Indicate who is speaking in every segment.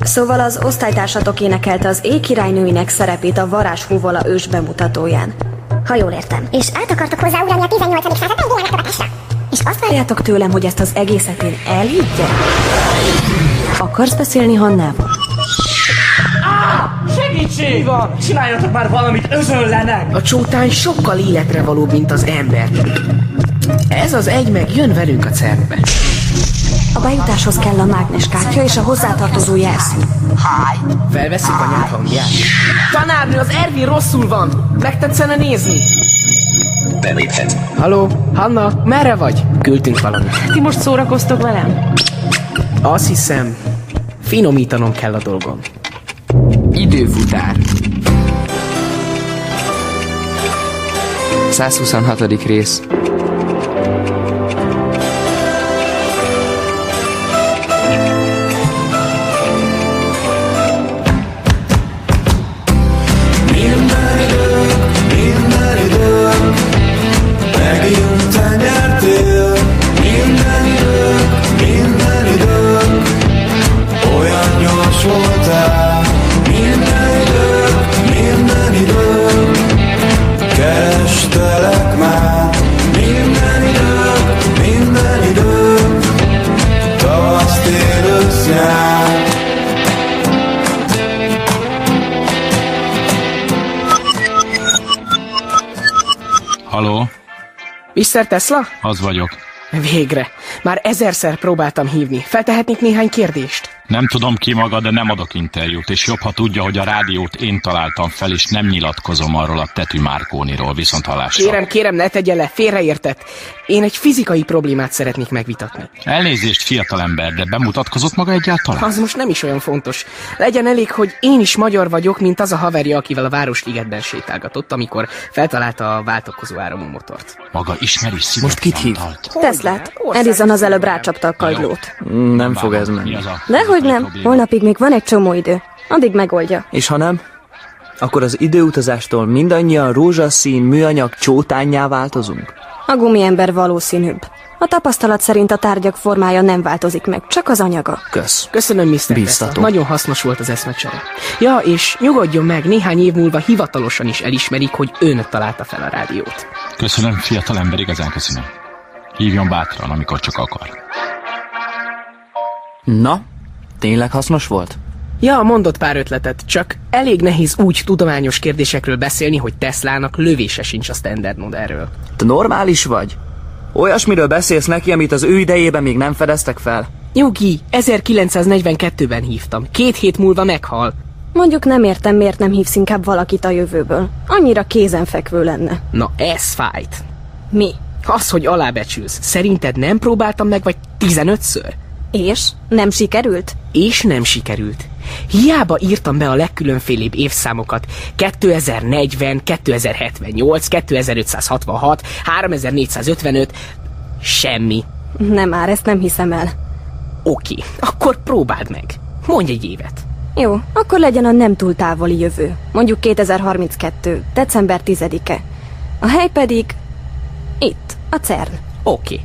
Speaker 1: Szóval az osztálytársatok énekelte az éjkirálynőinek szerepét a varázshúvola ős bemutatóján. Ha jól értem.
Speaker 2: És át akartok hozzáugrani a 18. században egy világmegtapadásra?
Speaker 1: És azt várjátok tőlem, hogy ezt az egészet én elhiggyem? Akarsz beszélni Hannával?
Speaker 3: Segítség! Mi van? Csináljatok már valamit, özönlenek!
Speaker 4: A csótány sokkal életre való, mint az ember. Ez az egy meg jön velünk a cerkbe.
Speaker 1: A bejutáshoz kell a mágnes kártya és a hozzátartozó jelszó.
Speaker 4: Felveszik a nyelv hangját. Tanárnő, az Ervin rosszul van! Megtetszene nézni?
Speaker 5: Beléphet.
Speaker 4: Haló, Hanna, merre vagy? Küldtünk valamit.
Speaker 6: Ti most szórakoztok velem?
Speaker 4: Azt hiszem, finomítanom kell a dolgom.
Speaker 7: Időfutár 126. rész
Speaker 5: Haló,
Speaker 4: Mr. Tesla?
Speaker 5: az vagyok.
Speaker 4: Végre. Már ezerszer próbáltam hívni. Feltehetnék néhány kérdést?
Speaker 5: Nem tudom ki maga, de nem adok interjút, és jobb, ha tudja, hogy a rádiót én találtam fel, és nem nyilatkozom arról a tetű Márkóniról, viszont hallásra.
Speaker 4: Kérem, kérem, ne tegye le, félreértett. Én egy fizikai problémát szeretnék megvitatni.
Speaker 5: Elnézést, fiatalember, de bemutatkozott maga egyáltalán?
Speaker 4: Az most nem is olyan fontos. Legyen elég, hogy én is magyar vagyok, mint az a haverja, akivel a Városligetben sétálgatott, amikor feltalálta a váltakozó áramú motort.
Speaker 5: Maga ismeri Most
Speaker 7: kit hív?
Speaker 1: Teslát. Edison az előbb rácsapta a kagylót.
Speaker 7: Nem fog ez menni.
Speaker 1: Dehogy nem. Holnapig még van egy csomó idő. Addig megoldja.
Speaker 7: És ha nem, akkor az időutazástól mindannyian rózsaszín műanyag csótányjá változunk?
Speaker 1: A gumiember valószínűbb. A tapasztalat szerint a tárgyak formája nem változik meg, csak az anyaga.
Speaker 7: Kösz.
Speaker 4: Köszönöm, Mr. Tesla.
Speaker 7: Bíztató.
Speaker 4: Nagyon hasznos volt az eszmecsere. Ja, és nyugodjon meg, néhány év múlva hivatalosan is elismerik, hogy ön találta fel a rádiót.
Speaker 5: Köszönöm, fiatalember, igazán köszönöm. Hívjon bátran, amikor csak akar.
Speaker 7: Na, tényleg hasznos volt?
Speaker 4: Ja, mondott pár ötletet, csak elég nehéz úgy tudományos kérdésekről beszélni, hogy Teslának lövése sincs a standard modellről.
Speaker 7: Te normális vagy? Olyasmiről beszélsz neki, amit az ő idejében még nem fedeztek fel.
Speaker 4: Nyugi, 1942-ben hívtam. Két hét múlva meghal.
Speaker 1: Mondjuk nem értem, miért nem hívsz inkább valakit a jövőből. Annyira kézenfekvő lenne.
Speaker 4: Na ez fájt.
Speaker 1: Mi?
Speaker 4: Az, hogy alábecsülsz. Szerinted nem próbáltam meg, vagy 15-ször?
Speaker 1: És? Nem sikerült?
Speaker 4: És nem sikerült. Hiába írtam be a legkülönfélébb évszámokat. 2040, 2078, 2566, 3455, semmi.
Speaker 1: Nem már, ezt nem hiszem el.
Speaker 4: Oké, akkor próbáld meg. Mondj egy évet.
Speaker 1: Jó, akkor legyen a nem túl távoli jövő. Mondjuk 2032. december 10-e. A hely pedig... Itt, a CERN.
Speaker 4: Oké.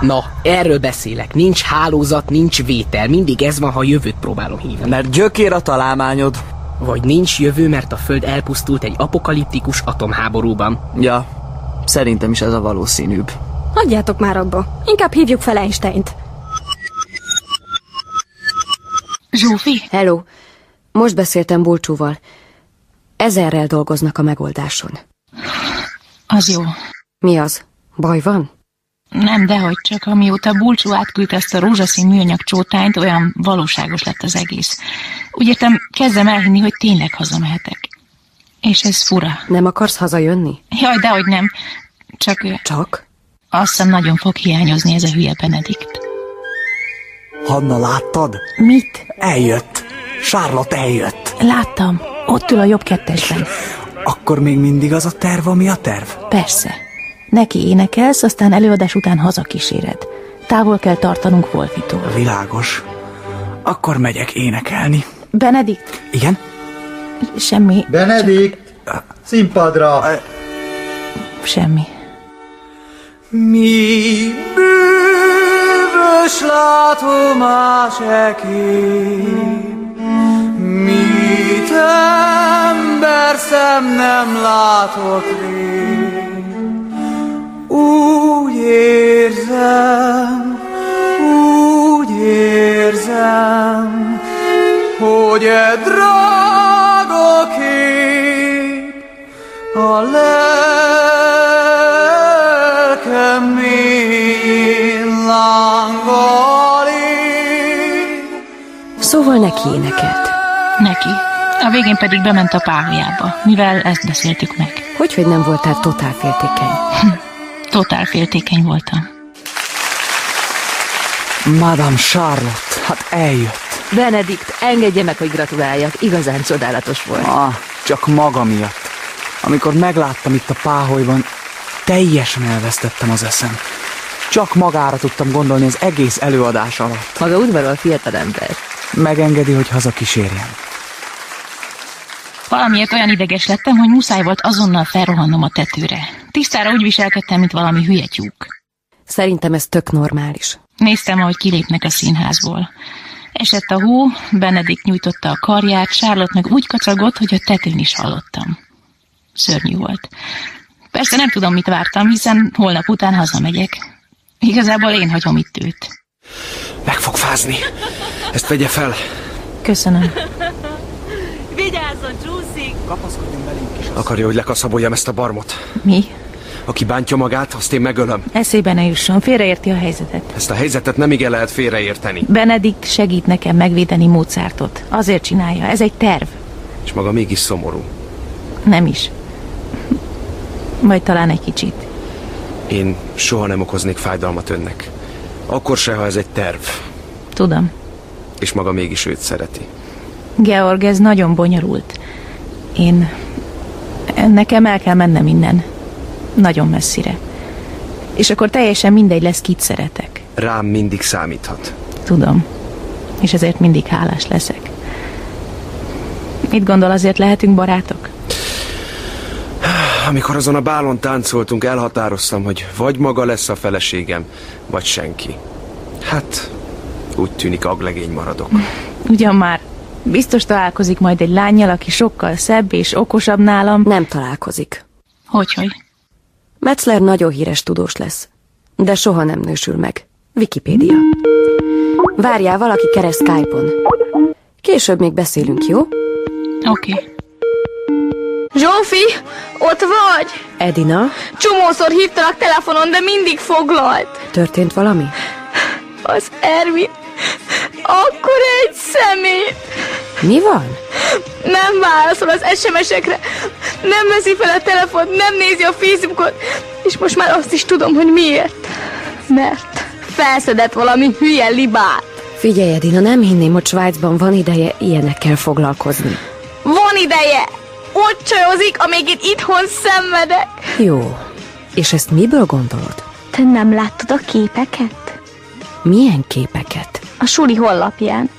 Speaker 4: Na, erről beszélek. Nincs hálózat, nincs vétel. Mindig ez van, ha a jövőt próbálom hívni.
Speaker 7: Mert gyökér a találmányod.
Speaker 4: Vagy nincs jövő, mert a Föld elpusztult egy apokaliptikus atomháborúban.
Speaker 7: Ja, szerintem is ez a valószínűbb.
Speaker 1: Hagyjátok már abba. Inkább hívjuk fel Einsteint.
Speaker 8: Zsófi?
Speaker 9: Hello. Most beszéltem Bulcsúval. Ezerrel dolgoznak a megoldáson.
Speaker 8: Az jó.
Speaker 9: Mi az? Baj van?
Speaker 8: Nem, dehogy csak amióta Bulcsú átküldte ezt a rózsaszín műanyag csótányt, olyan valóságos lett az egész. Úgy értem, kezdem elhinni, hogy tényleg hazamehetek. És ez fura.
Speaker 9: Nem akarsz hazajönni?
Speaker 8: Jaj, dehogy nem. Csak ö,
Speaker 9: Csak?
Speaker 8: azt hiszem nagyon fog hiányozni ez a hülye Benedikt.
Speaker 10: Hanna, láttad?
Speaker 8: Mit?
Speaker 10: Eljött. Charlotte eljött.
Speaker 8: Láttam. Ott ül a jobb kettesben.
Speaker 10: Akkor még mindig az a terv, ami a terv?
Speaker 8: Persze. Neki énekelsz, aztán előadás után hazakíséred. Távol kell tartanunk Wolfitól.
Speaker 10: Világos. Akkor megyek énekelni.
Speaker 8: Benedikt,
Speaker 10: Igen?
Speaker 8: semmi,
Speaker 11: Benedikt, színpadra!
Speaker 8: semmi.
Speaker 10: Mi bő-
Speaker 11: Közös látomás e kép, Mit ember szem nem látott rég. Úgy érzem, úgy érzem, Hogy e drága kép A lelkem mélyén lángol ég.
Speaker 9: Szóval neki énekelt.
Speaker 8: Neki. A végén pedig bement a páholyába, mivel ezt beszéltük meg.
Speaker 9: Hogy, hogy nem voltál totál féltékeny?
Speaker 8: Totál féltékeny voltam.
Speaker 12: Madame Charlotte, hát eljött.
Speaker 13: Benedikt, engedje meg, hogy gratuláljak. Igazán csodálatos volt.
Speaker 12: Ah, csak maga miatt. Amikor megláttam itt a páholyban, teljesen elvesztettem az eszem. Csak magára tudtam gondolni az egész előadás alatt.
Speaker 13: Maga udvarol fiatalember.
Speaker 12: Megengedi, hogy haza kísérjem.
Speaker 8: Valamiért olyan ideges lettem, hogy muszáj volt azonnal felrohannom a tetőre. Tisztára úgy viselkedtem, mint valami hülye tyúk.
Speaker 9: Szerintem ez tök normális.
Speaker 8: Néztem, ahogy kilépnek a színházból. Esett a hó, Benedikt nyújtotta a karját, Charlotte meg úgy kacagott, hogy a tetőn is hallottam. Szörnyű volt. Persze nem tudom, mit vártam, hiszen holnap után hazamegyek. Igazából én hagyom itt őt.
Speaker 14: Meg fog fázni. Ezt vegye fel.
Speaker 8: Köszönöm.
Speaker 15: Vigyázzon, csúszik!
Speaker 12: Kapaszkodjon belénk is.
Speaker 14: Akarja, hogy lekaszaboljam ezt a barmot.
Speaker 8: Mi?
Speaker 14: Aki bántja magát, azt én megölöm.
Speaker 8: Eszébe ne jusson, félreérti a helyzetet.
Speaker 14: Ezt a helyzetet nem igen lehet félreérteni.
Speaker 8: Benedikt segít nekem megvédeni Mozartot. Azért csinálja, ez egy terv.
Speaker 14: És maga mégis szomorú.
Speaker 8: Nem is. Vagy talán egy kicsit.
Speaker 14: Én soha nem okoznék fájdalmat önnek. Akkor se, ha ez egy terv.
Speaker 8: Tudom.
Speaker 14: És maga mégis őt szereti.
Speaker 8: Georg, ez nagyon bonyolult. Én... Nekem el kell mennem innen. Nagyon messzire. És akkor teljesen mindegy lesz, kit szeretek.
Speaker 14: Rám mindig számíthat.
Speaker 8: Tudom. És ezért mindig hálás leszek. Mit gondol, azért lehetünk barátok?
Speaker 14: Amikor azon a bálon táncoltunk, elhatároztam, hogy vagy maga lesz a feleségem, vagy senki. Hát, úgy tűnik aglegény maradok.
Speaker 8: Ugyan már biztos találkozik majd egy lányjal, aki sokkal szebb és okosabb nálam.
Speaker 9: Nem találkozik.
Speaker 8: Hogyhogy?
Speaker 9: Metzler nagyon híres tudós lesz, de soha nem nősül meg. Wikipédia. Várjál valaki keres Skype-on. Később még beszélünk, jó?
Speaker 8: Oké. Okay.
Speaker 16: Zsófi, ott vagy?
Speaker 9: Edina,
Speaker 16: Csomószor hívtalak telefonon, de mindig foglalt.
Speaker 9: történt valami?
Speaker 16: Az Ervin, akkor egy szemét.
Speaker 9: Mi van?
Speaker 16: Nem válaszol az SMS-ekre, nem veszi fel a telefont, nem nézi a Facebookot, és most már azt is tudom, hogy miért. Mert felszedett valami hülye libát.
Speaker 9: Figyelj, Edina, nem hinném, hogy Svájcban van ideje ilyenekkel foglalkozni.
Speaker 16: Van ideje! Ott csajozik, amíg én itthon szenvedek.
Speaker 9: Jó. És ezt miből gondolod?
Speaker 16: Te nem láttad a képeket?
Speaker 9: Milyen képeket?
Speaker 16: A suli honlapján,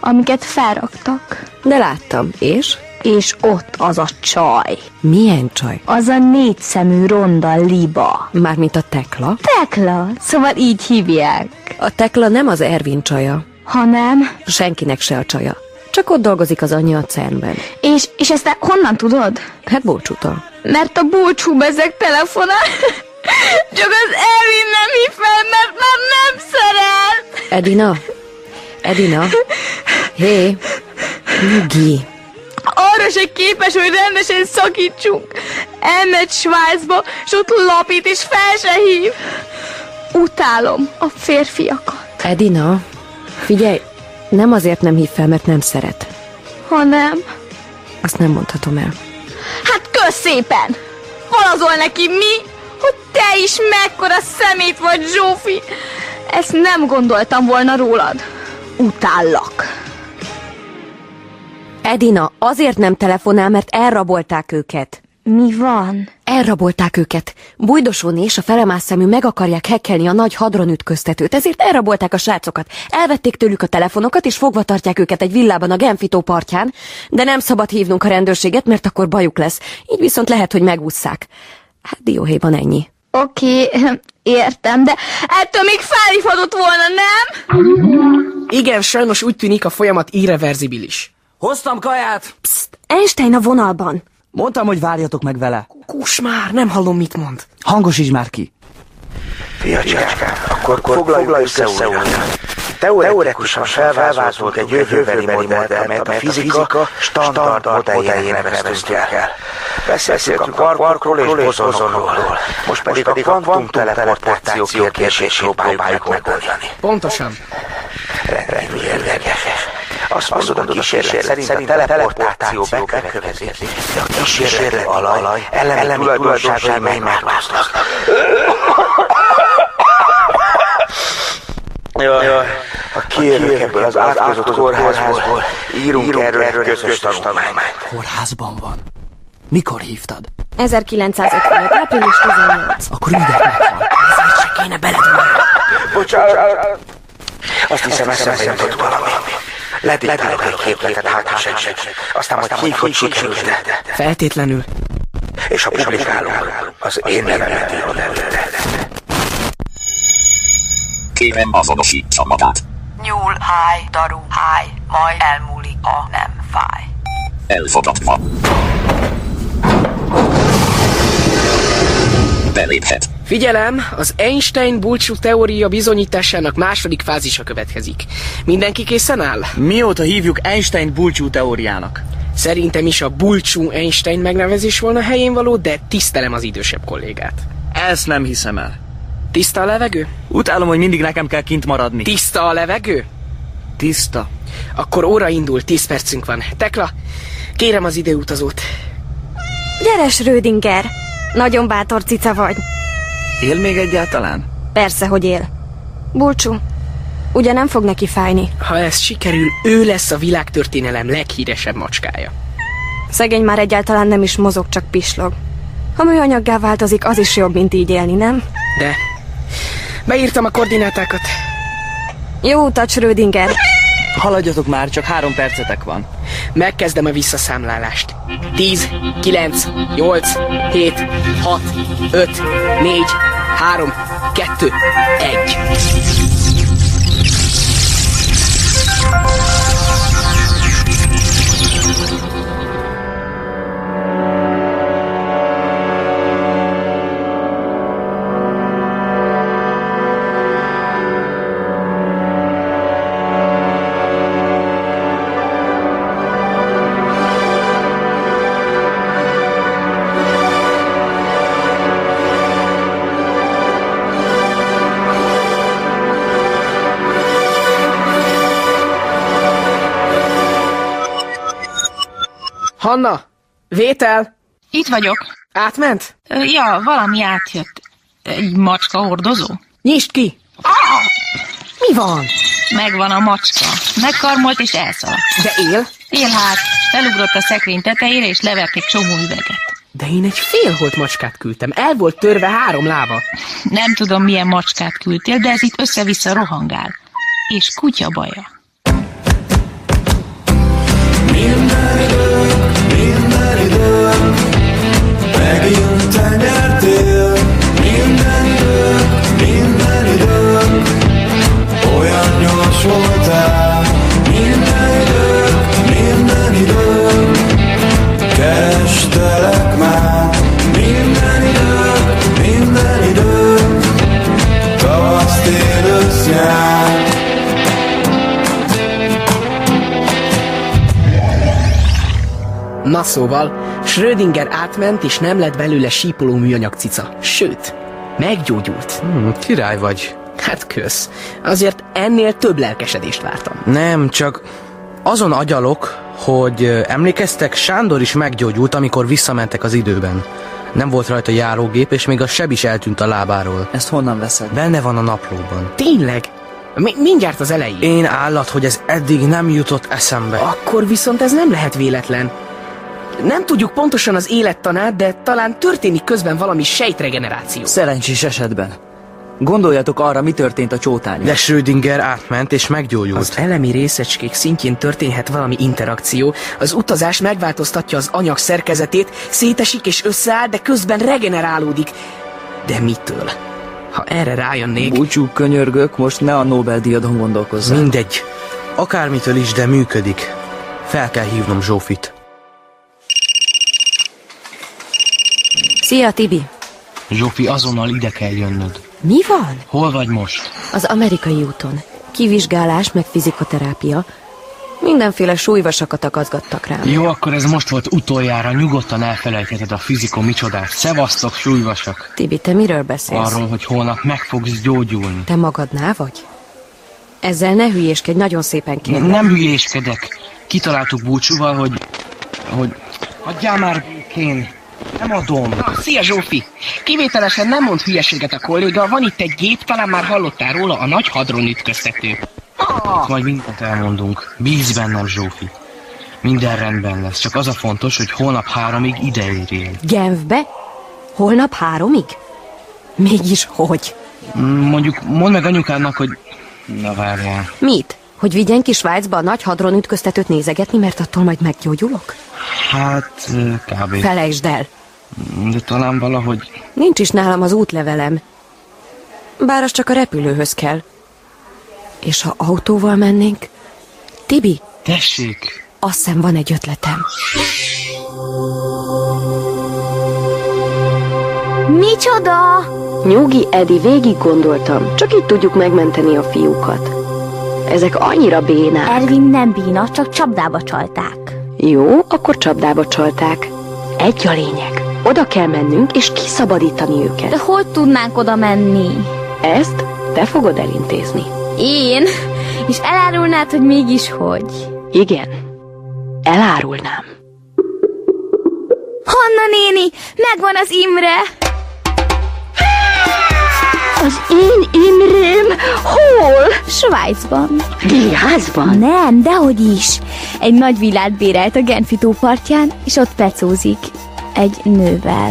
Speaker 16: amiket felraktak.
Speaker 9: De láttam, és?
Speaker 16: És ott az a csaj.
Speaker 9: Milyen csaj?
Speaker 16: Az a négyszemű ronda liba.
Speaker 9: Mármint a Tekla?
Speaker 16: Tekla, szóval így hívják.
Speaker 9: A Tekla nem az Ervin csaja.
Speaker 16: Hanem?
Speaker 9: Senkinek se a csaja. Csak ott dolgozik az anyja a cernben.
Speaker 16: És, és ezt te honnan tudod?
Speaker 9: Hát búcsúta.
Speaker 16: Mert a búcsú bezeg telefonál. Csak az Ervin nem hív fel, mert már nem szeret.
Speaker 9: Edina? Edina? Hé! Nyugi!
Speaker 16: Arra se képes, hogy rendesen szakítsunk. Elmegy Svájcba, és ott lapít, és fel se hív. Utálom a férfiakat.
Speaker 9: Edina? Figyelj, nem azért nem hív fel, mert nem szeret.
Speaker 16: Ha nem,
Speaker 9: Azt nem mondhatom el.
Speaker 16: hát kösz szépen. Valazol neki mi, hogy te is mekkora szemét vagy, Zsófi. Ezt nem gondoltam volna rólad. Utállak.
Speaker 9: Edina, azért nem telefonál, mert elrabolták őket.
Speaker 16: Mi van?
Speaker 9: Elrabolták őket. Bújdosóni és a felemás szemű meg akarják hekkelni a nagy hadron ütköztetőt, ezért elrabolták a srácokat. Elvették tőlük a telefonokat, és fogva tartják őket egy villában a Genfitó partján, de nem szabad hívnunk a rendőrséget, mert akkor bajuk lesz. Így viszont lehet, hogy megússzák. Hát dióhéjban ennyi.
Speaker 12: Oké, értem, de ettől még felhívhatott volna, nem?
Speaker 4: Igen, sajnos úgy tűnik a folyamat irreverzibilis.
Speaker 1: Hoztam kaját! Psst, Einstein a vonalban.
Speaker 10: Mondtam, hogy várjatok meg vele.
Speaker 4: Kus már, nem hallom, mit mond.
Speaker 10: Hangosíts már ki.
Speaker 17: Fiacskám, akkor, akkor foglaljuk össze újra. Teoretikusan felvázolt egy jövőbeli modellt, amelyet a fizika standard modelljének neveztünk el. Beszéltünk a quarkról és bozonokról, most pedig a kvantum teleportáció kérdését próbáljuk megoldani.
Speaker 4: Pontosan.
Speaker 17: Rendkívül érdekes. Azt mondod, hogy a kísérlet szerint a teleportáció bekövetkezik, de a kísérlet alaj elemi tulajdonságai megváltoznak. Jaj, jaj. A kijövök ebből az átkozott kórházból, írunk, írunk erről, erről egy közös tanulmányt.
Speaker 10: Kórházban van. Mikor hívtad?
Speaker 1: 1955. április 18.
Speaker 10: Akkor mindent meghal.
Speaker 1: Ezért se kéne beled már.
Speaker 17: Bocsánat. Azt hiszem, eszembe jutott valami. Ledítálok egy képletet, hát ha segítség. Aztán majd hív, hogy sikerült
Speaker 4: Feltétlenül.
Speaker 17: És ha publikálunk, az én nevemet írod előtte.
Speaker 18: Kérem azonosítsa magát.
Speaker 19: Nyúl, háj, daru, háj, majd elmúlik, ha nem fáj.
Speaker 18: Elfogadva. Beléphet.
Speaker 4: Figyelem, az Einstein bulcsú teória bizonyításának második fázisa következik. Mindenki készen áll?
Speaker 20: Mióta hívjuk Einstein bulcsú teóriának?
Speaker 4: Szerintem is a bulcsú Einstein megnevezés volna helyén való, de tisztelem az idősebb kollégát.
Speaker 20: Ezt nem hiszem el.
Speaker 4: Tiszta a levegő?
Speaker 20: Utálom, hogy mindig nekem kell kint maradni.
Speaker 4: Tiszta a levegő?
Speaker 20: Tiszta.
Speaker 4: Akkor óra indul, 10 percünk van. Tekla, kérem az időutazót.
Speaker 1: Gyere, Schrödinger! Nagyon bátor cica vagy.
Speaker 20: Él még egyáltalán?
Speaker 1: Persze, hogy él. Bulcsú, ugye nem fog neki fájni?
Speaker 4: Ha ez sikerül, ő lesz a világtörténelem leghíresebb macskája.
Speaker 1: Szegény már egyáltalán nem is mozog, csak pislog. Ha műanyaggá változik, az is jobb, mint így élni, nem?
Speaker 4: De. Beírtam a koordinátákat.
Speaker 1: Jó utat, Schrödinger!
Speaker 20: Haladjatok már, csak három percetek van.
Speaker 4: Megkezdem a visszaszámlálást. 10, 9, 8, 7, 6, 5, 4, 3, 2, 1. Hanna, vétel!
Speaker 8: Itt vagyok.
Speaker 4: Átment?
Speaker 8: Ö, Ja, valami átjött. Egy macska hordozó?
Speaker 4: Nyisd ki!
Speaker 8: Ah!
Speaker 9: Mi van?
Speaker 8: Megvan a macska. Megkarmolt és elszaladt.
Speaker 4: De él?
Speaker 8: Él hát. Felugrott a szekrény tetejére és levert egy csomó üveget.
Speaker 4: De én egy félholt macskát küldtem. El volt törve három lába.
Speaker 8: Nem tudom, milyen macskát küldtél, de ez itt össze-vissza rohangál. És kutya baja.
Speaker 21: Minden időm Megint te nyertél Minden időm, minden időm Olyan gyors voltál Minden időm, minden időm Kerestelek már Minden időm, minden időm Tavasz, tél, ősz, nyár
Speaker 4: Na szóval, Schrödinger átment, és nem lett belőle sípoló műanyag cica. Sőt, meggyógyult.
Speaker 14: Hmm, király vagy.
Speaker 4: Hát kösz. Azért ennél több lelkesedést vártam.
Speaker 20: Nem, csak azon agyalok, hogy ö, emlékeztek, Sándor is meggyógyult, amikor visszamentek az időben. Nem volt rajta járógép, és még a seb is eltűnt a lábáról.
Speaker 10: Ezt honnan veszed?
Speaker 20: Benne van a naplóban.
Speaker 4: Tényleg? Mi- mindjárt az elején.
Speaker 20: Én állat, hogy ez eddig nem jutott eszembe.
Speaker 4: Akkor viszont ez nem lehet véletlen. Nem tudjuk pontosan az élettanát, de talán történik közben valami sejtregeneráció.
Speaker 10: Szerencsés esetben. Gondoljatok arra, mi történt a csótányon.
Speaker 20: De Schrödinger átment és meggyógyult.
Speaker 4: Az elemi részecskék szintjén történhet valami interakció. Az utazás megváltoztatja az anyag szerkezetét, szétesik és összeáll, de közben regenerálódik. De mitől? Ha erre rájönnék...
Speaker 7: Búcsú, könyörgök, most ne a Nobel-díjadon gondolkozzál.
Speaker 20: Mindegy. Akármitől is, de működik. Fel kell hívnom Zsófit.
Speaker 9: Szia, Tibi!
Speaker 15: Zsófi, azonnal ide kell jönnöd.
Speaker 9: Mi van?
Speaker 15: Hol vagy most?
Speaker 9: Az amerikai úton. Kivizsgálás, meg fizikoterápia. Mindenféle súlyvasakat akaszgattak rám.
Speaker 15: Jó, akkor ez most volt utoljára. Nyugodtan elfelejtheted a fizikó micsodát. Szevasztok, súlyvasak!
Speaker 9: Tibi, te miről beszélsz?
Speaker 15: Arról, hogy holnap meg fogsz gyógyulni.
Speaker 9: Te magadnál vagy? Ezzel ne hülyéskedj, nagyon szépen
Speaker 15: Én
Speaker 9: kérlek.
Speaker 15: nem hülyéskedek. Kitaláltuk búcsúval, hogy... hogy... Adjál már békén! Nem adom.
Speaker 4: Szia Zsófi! Kivételesen nem mond hülyeséget a kolléga, van itt egy gép, talán már hallottál róla, a nagy hadron ütköztető.
Speaker 15: Itt majd mindent elmondunk. Bíz bennem, Zsófi. Minden rendben lesz, csak az a fontos, hogy holnap háromig ide érjél.
Speaker 9: Genfbe? Holnap háromig? Mégis hogy?
Speaker 15: Mm, Mondjuk, mondd meg anyukádnak, hogy... Na várjál.
Speaker 9: Mit? Hogy vigyen ki Svájcba a nagy hadron ütköztetőt nézegetni, mert attól majd meggyógyulok?
Speaker 15: Hát, ö, kb.
Speaker 9: Felejtsd el!
Speaker 15: De talán valahogy...
Speaker 9: Nincs is nálam az útlevelem. Bár az csak a repülőhöz kell. És ha autóval mennénk? Tibi,
Speaker 15: Tessék!
Speaker 9: azt hiszem van egy ötletem.
Speaker 12: Micsoda?
Speaker 13: Nyugi, Edi, végig gondoltam. Csak így tudjuk megmenteni a fiúkat. Ezek annyira bénák.
Speaker 2: Ervin nem bína, csak csapdába csalták.
Speaker 13: Jó, akkor csapdába csalták. Egy a lényeg. Oda kell mennünk, és kiszabadítani őket.
Speaker 2: De hogy tudnánk oda menni?
Speaker 13: Ezt te fogod elintézni.
Speaker 2: Én? És elárulnád, hogy mégis hogy?
Speaker 13: Igen. Elárulnám.
Speaker 2: Hanna néni, megvan az Imre!
Speaker 13: Az én Imrém hol?
Speaker 2: Svájcban.
Speaker 13: Díjházban?
Speaker 2: Nem, dehogy is. Egy nagy villát bérelt a Genfi tópartján, és ott pecózik. Egy nővel.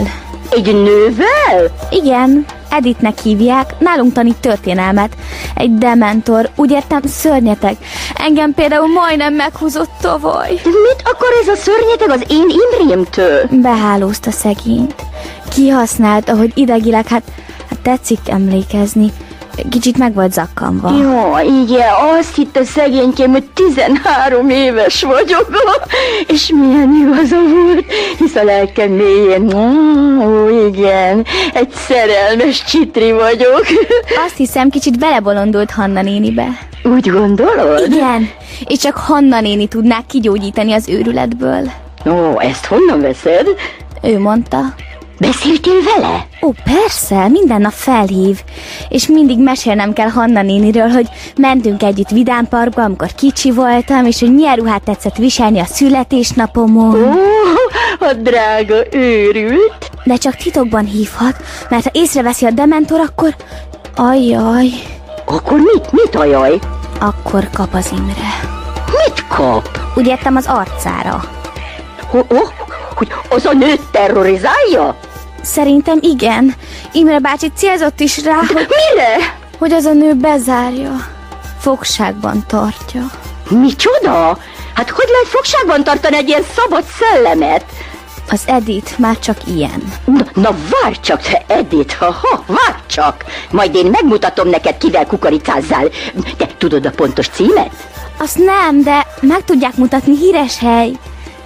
Speaker 13: Egy nővel?
Speaker 2: Igen, Editnek hívják, nálunk tanít történelmet. Egy dementor, úgy értem szörnyeteg. Engem például majdnem meghúzott tovoly.
Speaker 13: Mit akar ez a szörnyeteg az én Imrémtől?
Speaker 2: Behálózta szegényt. Kihasználta, hogy idegileg, hát, hát tetszik emlékezni. Kicsit meg volt zakkanva.
Speaker 13: Jó, igen, azt hitte szegénykém, hogy 13 éves vagyok, és milyen igaza volt, hisz a lelkem mélyén, mm, ó, igen, egy szerelmes csitri vagyok.
Speaker 2: Azt hiszem, kicsit belebolondult Hanna nénibe.
Speaker 13: Úgy gondolod?
Speaker 2: Igen, és csak Hanna néni tudná kigyógyítani az őrületből.
Speaker 13: Ó, ezt honnan veszed?
Speaker 2: Ő mondta.
Speaker 13: Beszéltél vele?
Speaker 2: Ó, persze, minden nap felhív. És mindig mesélnem kell Hanna néniről, hogy mentünk együtt Vidán Parkba, amikor kicsi voltam, és hogy milyen ruhát tetszett viselni a születésnapomon.
Speaker 13: Ó, a drága őrült.
Speaker 2: De csak titokban hívhat, mert ha észreveszi a dementor, akkor... Ajjaj,
Speaker 13: Akkor mit, mit ajaj?
Speaker 2: akkor kap az Imre.
Speaker 13: Mit kap?
Speaker 2: Úgy értem az arcára.
Speaker 13: Ho, ho, hogy az a nőt terrorizálja?
Speaker 2: Szerintem igen. Imre bácsi célzott is rá, hogy,
Speaker 13: Hát, Mire?
Speaker 2: hogy az a nő bezárja. Fogságban tartja.
Speaker 13: Micsoda? Hát hogy lehet fogságban tartani egy ilyen szabad szellemet?
Speaker 2: Az Edith már csak ilyen.
Speaker 13: Na, na várj csak, te Edith, ha, ha, várj csak! Majd én megmutatom neked, kivel kukoricázzál. Te tudod a pontos címet?
Speaker 2: Azt nem, de meg tudják mutatni híres hely.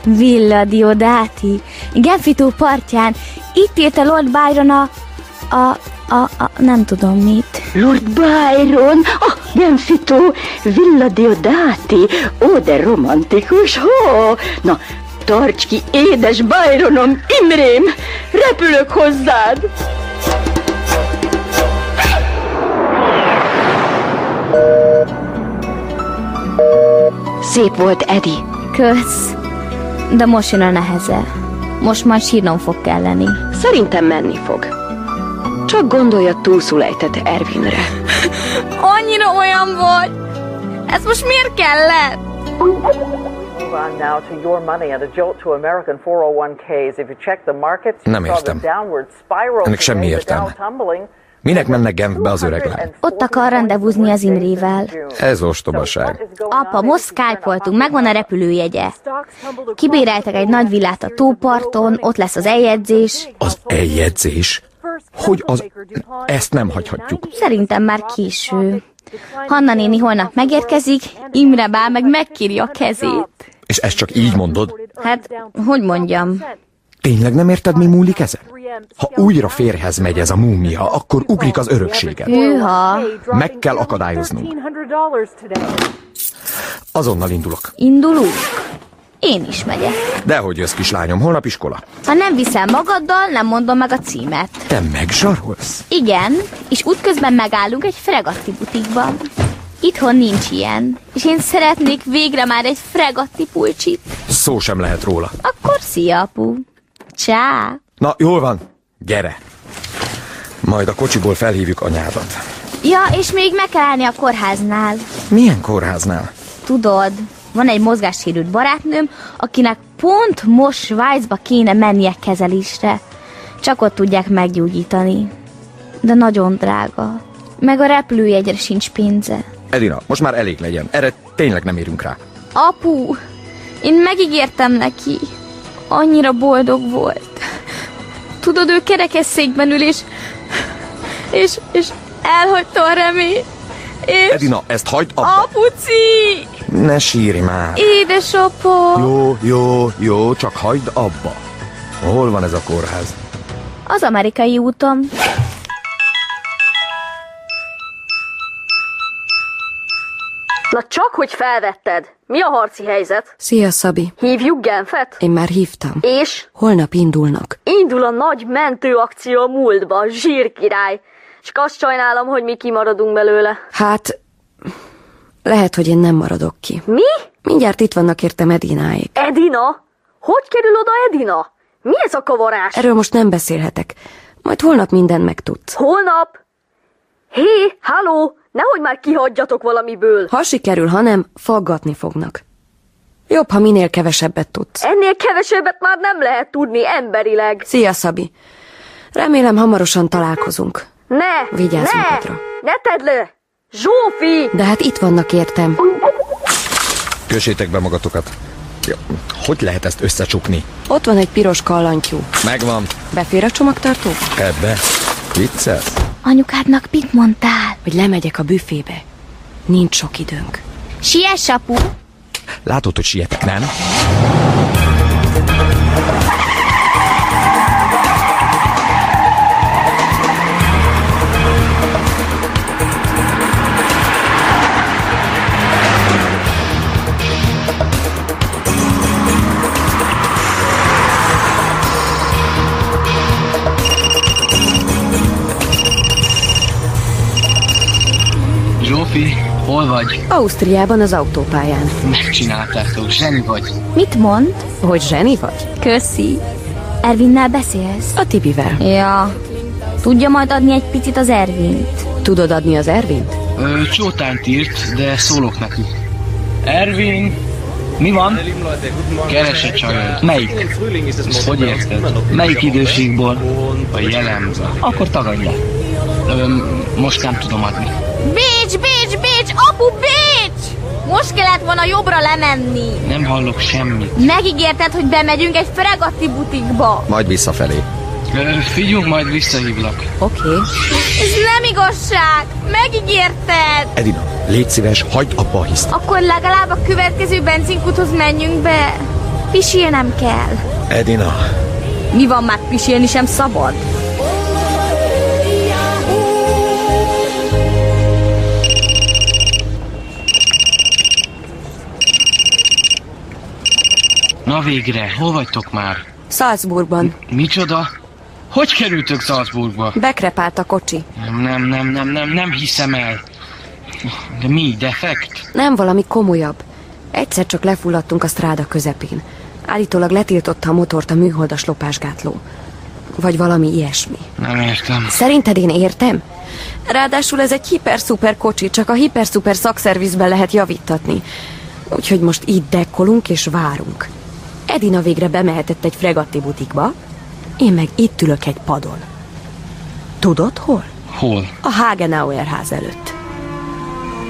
Speaker 2: Villa Diodati. Genfi tó partján. Itt írta Lord Byron a... A, a, a, nem tudom mit.
Speaker 13: Lord Byron, ah, Genfito, Villa Diodati, ó, de romantikus, ho! Na, tarts ki, édes Byronom, Imrém, repülök hozzád! Szép volt, Edi.
Speaker 2: Kösz. De most jön a neheze. Most majd sírnom fog kelleni.
Speaker 13: Szerintem menni fog. Csak gondolja túlszulejtett Ervinre.
Speaker 2: Annyira olyan vagy! Ez most miért kellett?
Speaker 22: Move on now to your money and a jolt to American 401ks. If you check the markets, you
Speaker 23: Nem
Speaker 22: saw the
Speaker 23: értem.
Speaker 22: downward spiral
Speaker 23: Ennek semmi
Speaker 22: today, the Dow
Speaker 23: értelme.
Speaker 22: tumbling.
Speaker 23: Minek mennek Genfbe az öreg lány?
Speaker 2: Ott akar rendezvúzni az Imrével.
Speaker 23: Ez ostobaság.
Speaker 2: Apa, most skype-oltunk, megvan a repülőjegye. Kibéreltek egy nagy villát a tóparton, ott lesz az eljegyzés.
Speaker 23: Az eljegyzés? hogy az... Ezt nem hagyhatjuk.
Speaker 2: Szerintem már késő. Hanna néni holnap megérkezik, Imre bá meg megkéri a kezét.
Speaker 23: És ezt csak így mondod?
Speaker 2: Hát, hogy mondjam?
Speaker 23: Tényleg nem érted, mi múlik ezen? Ha újra férhez megy ez a múmia, akkor ugrik az örökséget.
Speaker 2: Hűha.
Speaker 23: Meg kell akadályoznunk. Azonnal indulok.
Speaker 2: Indulunk? Én is megyek.
Speaker 23: Dehogy jössz, kislányom, holnap iskola.
Speaker 2: Ha nem viszel magaddal, nem mondom meg a címet.
Speaker 23: Te megzsarolsz?
Speaker 2: Igen, és útközben megállunk egy fregatti butikban. Itthon nincs ilyen, és én szeretnék végre már egy fregatti pulcsit.
Speaker 23: Szó sem lehet róla.
Speaker 2: Akkor szia, apu. Csá.
Speaker 23: Na, jól van. Gyere. Majd a kocsiból felhívjuk anyádat.
Speaker 2: Ja, és még meg kell állni a kórháznál.
Speaker 23: Milyen kórháznál?
Speaker 2: Tudod, van egy mozgássérült barátnőm, akinek pont most Svájcba kéne mennie kezelésre. Csak ott tudják meggyógyítani. De nagyon drága. Meg a repülőjegyre sincs pénze.
Speaker 23: Edina, most már elég legyen. Erre tényleg nem érünk rá.
Speaker 2: Apu, én megígértem neki. Annyira boldog volt. Tudod, ő kerekesszékben ül, és, és, és elhagyta a reményt. És
Speaker 23: Edina, ezt hagyd abba.
Speaker 2: apuci!
Speaker 23: Ne sírj már.
Speaker 2: Édesapa!
Speaker 23: Jó, jó, jó, csak hagyd abba. Hol van ez a kórház?
Speaker 2: Az amerikai úton.
Speaker 3: Na csak, hogy felvetted. Mi a harci helyzet?
Speaker 9: Szia, Szabi.
Speaker 3: Hívjuk Genfet?
Speaker 9: Én már hívtam.
Speaker 3: És?
Speaker 9: Holnap indulnak.
Speaker 3: Indul a nagy mentőakció a múltba, zsírkirály. Csak azt sajnálom, hogy mi kimaradunk belőle.
Speaker 9: Hát, lehet, hogy én nem maradok ki.
Speaker 3: Mi?
Speaker 9: Mindjárt itt vannak értem Edináig.
Speaker 3: Edina? Hogy kerül oda Edina? Mi ez a kavarás?
Speaker 9: Erről most nem beszélhetek. Majd holnap mindent megtudsz.
Speaker 3: Holnap? Hé, halló! Nehogy már kihagyjatok valamiből.
Speaker 9: Ha sikerül, ha nem, faggatni fognak. Jobb, ha minél kevesebbet tudsz.
Speaker 3: Ennél kevesebbet már nem lehet tudni emberileg.
Speaker 9: Szia, Szabi. Remélem, hamarosan találkozunk.
Speaker 3: Ne!
Speaker 9: Vigyázz
Speaker 3: ne!
Speaker 9: magadra.
Speaker 3: Ne tedd le! Zsófi!
Speaker 9: De hát itt vannak értem.
Speaker 23: Kösétek be magatokat. Ja, hogy lehet ezt összecsukni?
Speaker 9: Ott van egy piros kallantyú.
Speaker 23: Megvan.
Speaker 9: Befér a csomagtartó?
Speaker 23: Ebbe. Viccelsz?
Speaker 2: Anyukádnak mit mondtál?
Speaker 9: Hogy lemegyek a büfébe. Nincs sok időnk.
Speaker 2: Siess, apu!
Speaker 23: Látod, hogy sietek, nem?
Speaker 15: Zsófi, hol vagy?
Speaker 9: Ausztriában az autópályán.
Speaker 15: Megcsináltátok, zseni vagy.
Speaker 2: Mit mond?
Speaker 9: Hogy zseni vagy?
Speaker 2: Köszi. Ervinnel beszélsz?
Speaker 9: A Tibivel.
Speaker 2: Ja. Tudja majd adni egy picit az Ervint?
Speaker 9: Tudod adni az Ervint?
Speaker 15: Ö, csótányt írt, de szólok neki. Ervin, mi van? Keres egy csajot. Melyik? Ezt Hogy érted? Melyik időségból? A jelenből. Akkor tagadják. Ö, most nem tudom adni.
Speaker 2: Bécs, Bécs, Bécs, apu, Bécs! Most kellett volna jobbra lemenni.
Speaker 15: Nem hallok semmit.
Speaker 2: Megígérted, hogy bemegyünk egy fregatti butikba.
Speaker 23: Majd visszafelé.
Speaker 15: Ö, Figyelj, majd visszahívlak.
Speaker 9: Oké.
Speaker 2: Ez nem igazság. Megígérted.
Speaker 23: Edina, légy szíves, hagyd abba a hiszt.
Speaker 2: Akkor legalább a következő benzinkúthoz menjünk be. Pisilnem kell.
Speaker 23: Edina.
Speaker 2: Mi van már pisilni sem szabad?
Speaker 15: Na végre, hol vagytok már?
Speaker 9: Salzburgban.
Speaker 15: Micsoda? Hogy kerültök Salzburgba?
Speaker 9: Bekrepált a kocsi.
Speaker 15: Nem, nem, nem, nem, nem, nem hiszem el. De mi, defekt?
Speaker 9: Nem valami komolyabb. Egyszer csak lefulladtunk a stráda közepén. Állítólag letiltotta a motort a műholdas lopásgátló. Vagy valami ilyesmi.
Speaker 15: Nem értem.
Speaker 9: Szerinted én értem? Ráadásul ez egy hiper-szuper kocsi, csak a hiper-szuper szakszervizben lehet javítatni. Úgyhogy most itt dekkolunk és várunk. Edina végre bemehetett egy fregatti butikba, én meg itt ülök egy padon. Tudod hol?
Speaker 15: Hol?
Speaker 9: A Hagenauer ház előtt.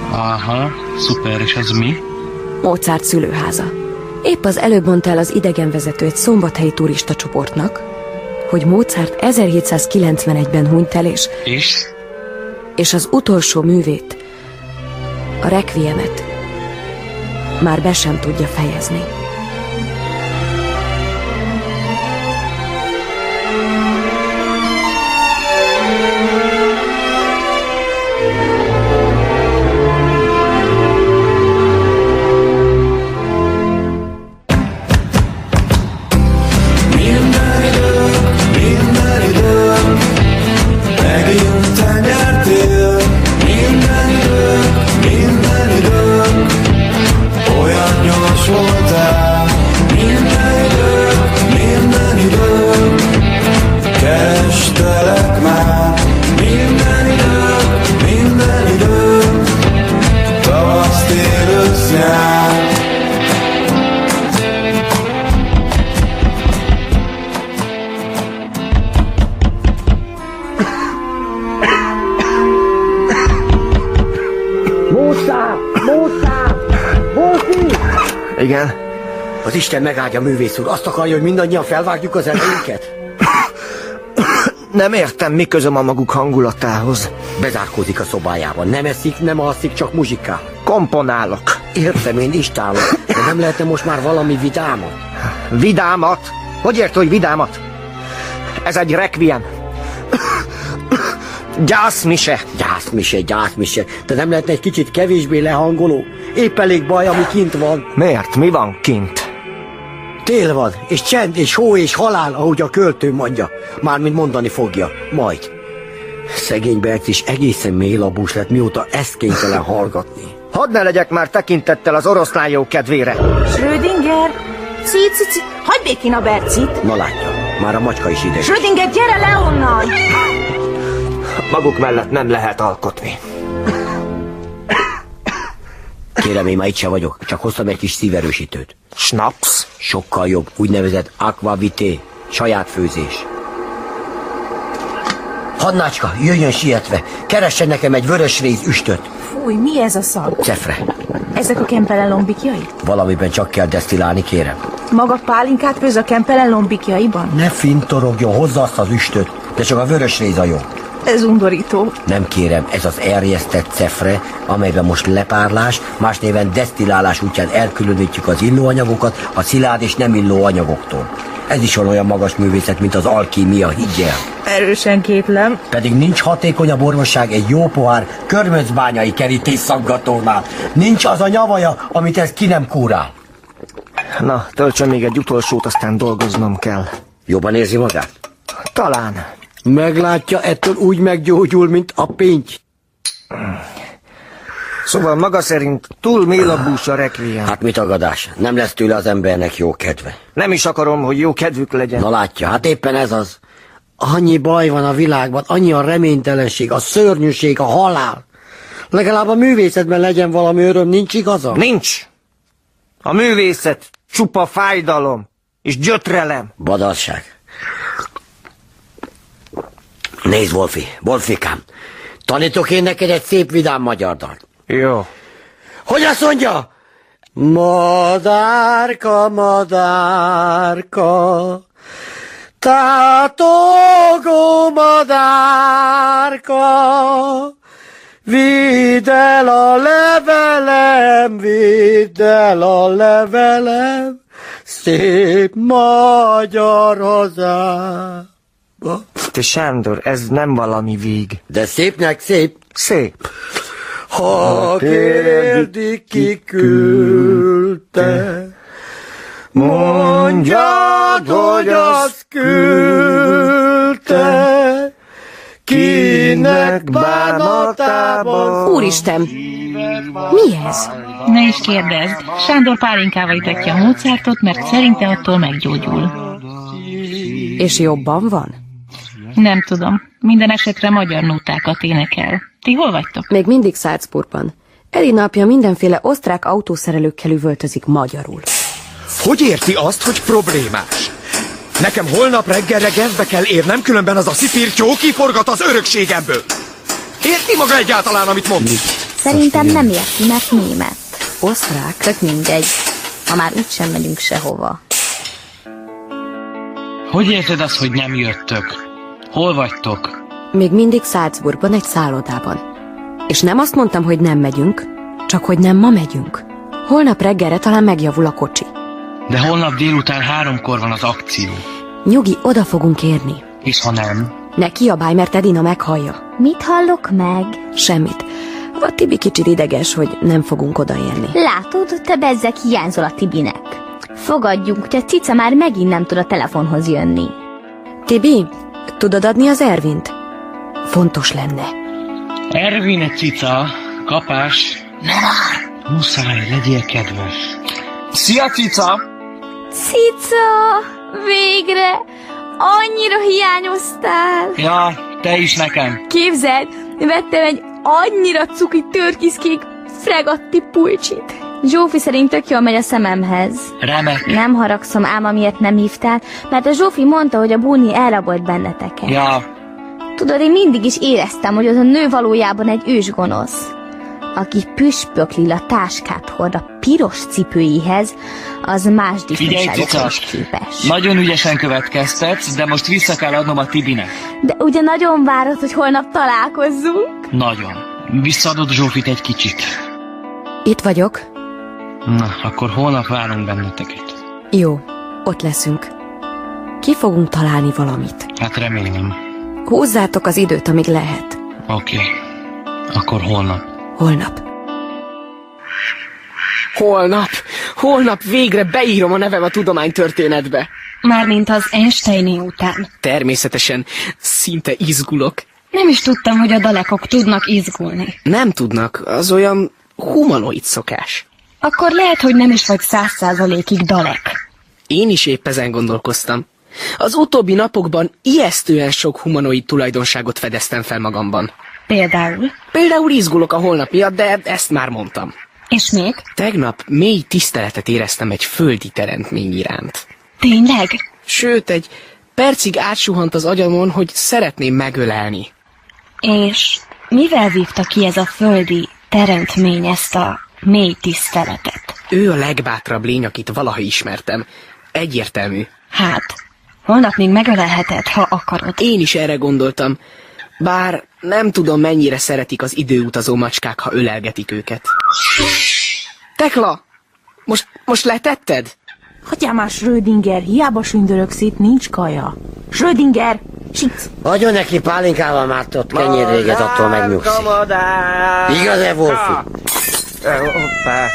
Speaker 15: Aha, szuper, és ez mi?
Speaker 9: Mozart szülőháza. Épp az előbb mondta el az idegenvezető egy szombathelyi turista csoportnak, hogy Mozart 1791-ben hunyt el, és,
Speaker 15: És?
Speaker 9: és az utolsó művét, a requiemet már be sem tudja fejezni.
Speaker 21: Minden időm Megjön te nyertél Minden időm, minden időm Olyan gyors voltál Minden időm, minden időm Kerestelek már Minden időm, minden időm Tavasz, tél, ősz, nyár
Speaker 5: Mószá! Mószá! Mószi!
Speaker 6: Igen? Az Isten megáldja, művész úr. Azt akarja, hogy mindannyian felvágjuk az erőinket? Nem értem, mi közöm a maguk hangulatához. Bezárkózik a szobájában. Nem eszik, nem alszik, csak muzsikál. Komponálok. Értem, én is tálok. De nem lehetne most már valami vidámat? Vidámat? Hogy ért, hogy vidámat? Ez egy requiem. Gyászmise! Gyászmise, gyászmise. De nem lehetne egy kicsit kevésbé lehangoló? Épp elég baj, ami kint van. Miért? Mi van kint? Tél van, és csend, és hó, és halál, ahogy a költő mondja. Mármint mondani fogja. Majd. Szegény Berc is egészen mélabús lett, mióta ezt kénytelen hallgatni. Hadd ne legyek már tekintettel az oroszlán jó kedvére.
Speaker 11: Schrödinger! Ci, ci, ci. Hagyd békén a Bercit!
Speaker 6: Na látja, már a macska is ide.
Speaker 11: Schrödinger, gyere le onnan!
Speaker 6: Maguk mellett nem lehet alkotni. Kérem, én már itt se vagyok, csak hoztam egy kis szíverősítőt. Snaps? Sokkal jobb, úgynevezett aquavité, saját főzés. Hannácska, jöjjön sietve, keressen nekem egy vörös rész üstöt.
Speaker 11: Fúj, mi ez a szag?
Speaker 6: Cefre,
Speaker 11: Ezek a kempelen lombikjai?
Speaker 6: valamiben csak kell desztillálni, kérem.
Speaker 11: Maga pálinkát főz a kempelen lombikjaiban?
Speaker 6: Ne fintorogjon, hozza azt az üstöt, de csak a vörös réz a jó.
Speaker 11: Ez undorító.
Speaker 6: Nem kérem, ez az erjesztett cefre, amelyben most lepárlás, más néven desztillálás útján elkülönítjük az illóanyagokat a szilárd és nem illó anyagoktól. Ez is olyan magas művészet, mint az alkímia, higgyel.
Speaker 11: Erősen kétlem.
Speaker 6: Pedig nincs hatékonyabb orvosság egy jó pohár körmöcbányai kerítés szaggatónál. Nincs az a nyavaja, amit ez ki nem kúrál.
Speaker 24: Na, töltsön még egy utolsót, aztán dolgoznom kell.
Speaker 6: Jobban érzi magát?
Speaker 24: Talán.
Speaker 6: Meglátja, ettől úgy meggyógyul, mint a pinty.
Speaker 24: Szóval maga szerint túl mélabús a requiem.
Speaker 6: Hát mit agadás? Nem lesz tőle az embernek jó kedve.
Speaker 24: Nem is akarom, hogy jó kedvük legyen.
Speaker 6: Na látja, hát éppen ez az. Annyi baj van a világban, annyi a reménytelenség, a szörnyűség, a halál. Legalább a művészetben legyen valami öröm, nincs igaza?
Speaker 24: Nincs. A művészet csupa fájdalom és gyötrelem.
Speaker 6: Badalság. Nézd, Wolfi, Wolfikám, tanítok én neked egy szép vidám magyar dalt.
Speaker 24: Jó.
Speaker 6: Hogy azt mondja? Madárka, madárka, tátogó madárka, vidd el a levelem, vidd el a levelem, szép magyar hazám.
Speaker 24: Te Sándor, ez nem valami víg.
Speaker 6: De szépnek szép.
Speaker 24: Szép.
Speaker 6: Ha kérdi, ki küldte, mondjad, hogy azt küldte, kinek bánatában.
Speaker 9: Úristen, mi ez?
Speaker 8: Ne is kérdezd. Sándor pálinkával itatja a Mozartot, mert szerinte attól meggyógyul.
Speaker 9: És jobban van?
Speaker 8: Nem tudom. Minden esetre magyar nótákat énekel. Ti hol vagytok?
Speaker 9: Még mindig Salzburgban. Eli napja mindenféle osztrák autószerelőkkel üvöltözik magyarul.
Speaker 25: Hogy érti azt, hogy problémás? Nekem holnap reggelre Genfbe kell érnem, különben az a szipírtyó kiforgat az örökségemből. Érti maga egyáltalán, amit mond?
Speaker 2: Szerintem nem érti, mert német. Osztrák? Tök mindegy. Ma már úgysem megyünk sehova.
Speaker 15: Hogy érted azt, hogy nem jöttök? Hol vagytok?
Speaker 9: Még mindig Salzburgban egy szállodában. És nem azt mondtam, hogy nem megyünk, csak hogy nem ma megyünk. Holnap reggelre talán megjavul a kocsi.
Speaker 15: De holnap délután háromkor van az akció.
Speaker 9: Nyugi, oda fogunk érni.
Speaker 15: És ha nem?
Speaker 9: Ne kiabálj, mert Edina meghallja.
Speaker 2: Mit hallok meg?
Speaker 9: Semmit. A Tibi kicsit ideges, hogy nem fogunk odaérni.
Speaker 2: Látod, te bezzek hiányzol a Tibinek. Fogadjunk, hogy a cica már megint nem tud a telefonhoz jönni.
Speaker 9: Tibi, tudod adni az Ervint? Fontos lenne.
Speaker 15: Ervin egy cica, kapás. Ne már! Muszáj, legyél kedves. Szia, cica!
Speaker 2: Cica, végre! Annyira hiányoztál!
Speaker 15: Ja, te is nekem.
Speaker 2: Képzeld, vettem egy annyira cuki törkiszkék fregatti pulcsit. Zsófi szerint tök jól megy a szememhez.
Speaker 15: Remek.
Speaker 2: Nem haragszom ám, amiért nem hívtál, mert a Zsófi mondta, hogy a búni elrabolt benneteket.
Speaker 15: Ja,
Speaker 2: Tudod, én mindig is éreztem, hogy az a nő valójában egy ősgonosz. Aki püspökli a táskát hord a piros cipőihez, az más
Speaker 15: figyelj, cica!
Speaker 2: dicsőségekre képes.
Speaker 15: Nagyon ügyesen következtetsz, de most vissza kell adnom a Tibinek.
Speaker 2: De ugye nagyon várod, hogy holnap találkozzunk?
Speaker 15: Nagyon. Visszaadod Zsófit egy kicsit.
Speaker 9: Itt vagyok.
Speaker 15: Na, akkor holnap várunk benneteket.
Speaker 9: Jó, ott leszünk. Ki fogunk találni valamit.
Speaker 15: Hát remélem.
Speaker 9: Húzzátok az időt, amíg lehet.
Speaker 15: Oké. Okay. Akkor holnap.
Speaker 9: Holnap.
Speaker 4: Holnap, holnap végre beírom a nevem a tudománytörténetbe.
Speaker 1: Mármint az Einsteini után.
Speaker 4: Természetesen, szinte izgulok.
Speaker 1: Nem is tudtam, hogy a dalekok tudnak izgulni.
Speaker 4: Nem tudnak, az olyan humanoid szokás.
Speaker 1: Akkor lehet, hogy nem is vagy száz százalékig dalek.
Speaker 4: Én is épp ezen gondolkoztam. Az utóbbi napokban ijesztően sok humanoid tulajdonságot fedeztem fel magamban.
Speaker 1: Például.
Speaker 4: Például izgulok a holnap miatt, de ezt már mondtam.
Speaker 1: És még?
Speaker 4: Tegnap mély tiszteletet éreztem egy földi teremtmény iránt.
Speaker 1: Tényleg?
Speaker 4: Sőt, egy percig átsuhant az agyamon, hogy szeretném megölelni.
Speaker 1: És mivel vívta ki ez a földi teremtmény ezt a mély tiszteletet?
Speaker 4: Ő a legbátrabb lény, akit valaha ismertem. Egyértelmű.
Speaker 1: Hát, holnap még megölelheted, ha akarod.
Speaker 4: Én is erre gondoltam. Bár nem tudom, mennyire szeretik az időutazó macskák, ha ölelgetik őket. Tekla! Most, most letetted?
Speaker 11: Hagyjál már Schrödinger, hiába sündöröksz itt, nincs kaja. Schrödinger, sit!
Speaker 6: Adjon neki pálinkával már ott kenyér véget, attól megnyugszik. Igaz-e, Wolfi?
Speaker 24: Hoppá,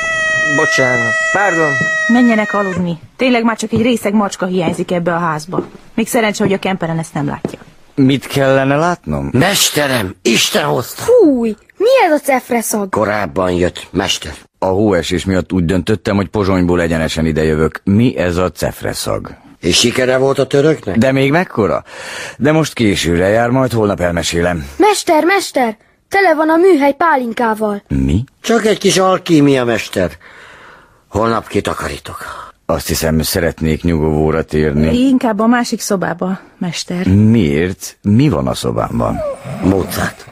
Speaker 24: bocsánat, pardon.
Speaker 11: Menjenek aludni. Tényleg már csak egy részeg macska hiányzik ebbe a házba. Még szerencse, hogy a kemperen ezt nem látja.
Speaker 24: Mit kellene látnom?
Speaker 6: Mesterem, Isten hozta.
Speaker 2: Fúj, mi ez a cefreszag?
Speaker 24: Korábban jött, mester. A hóesés miatt úgy döntöttem, hogy Pozsonyból egyenesen idejövök. Mi ez a cefreszag?
Speaker 6: És sikere volt a töröknek?
Speaker 24: De még mekkora? De most későre jár, majd holnap elmesélem.
Speaker 16: Mester, mester! Tele van a műhely pálinkával.
Speaker 24: Mi?
Speaker 6: Csak egy kis alkímia, mester. Holnap kitakarítok.
Speaker 24: Azt hiszem, szeretnék nyugovóra térni.
Speaker 11: Inkább a másik szobába, mester.
Speaker 24: Miért? Mi van a szobámban?
Speaker 6: Mozart.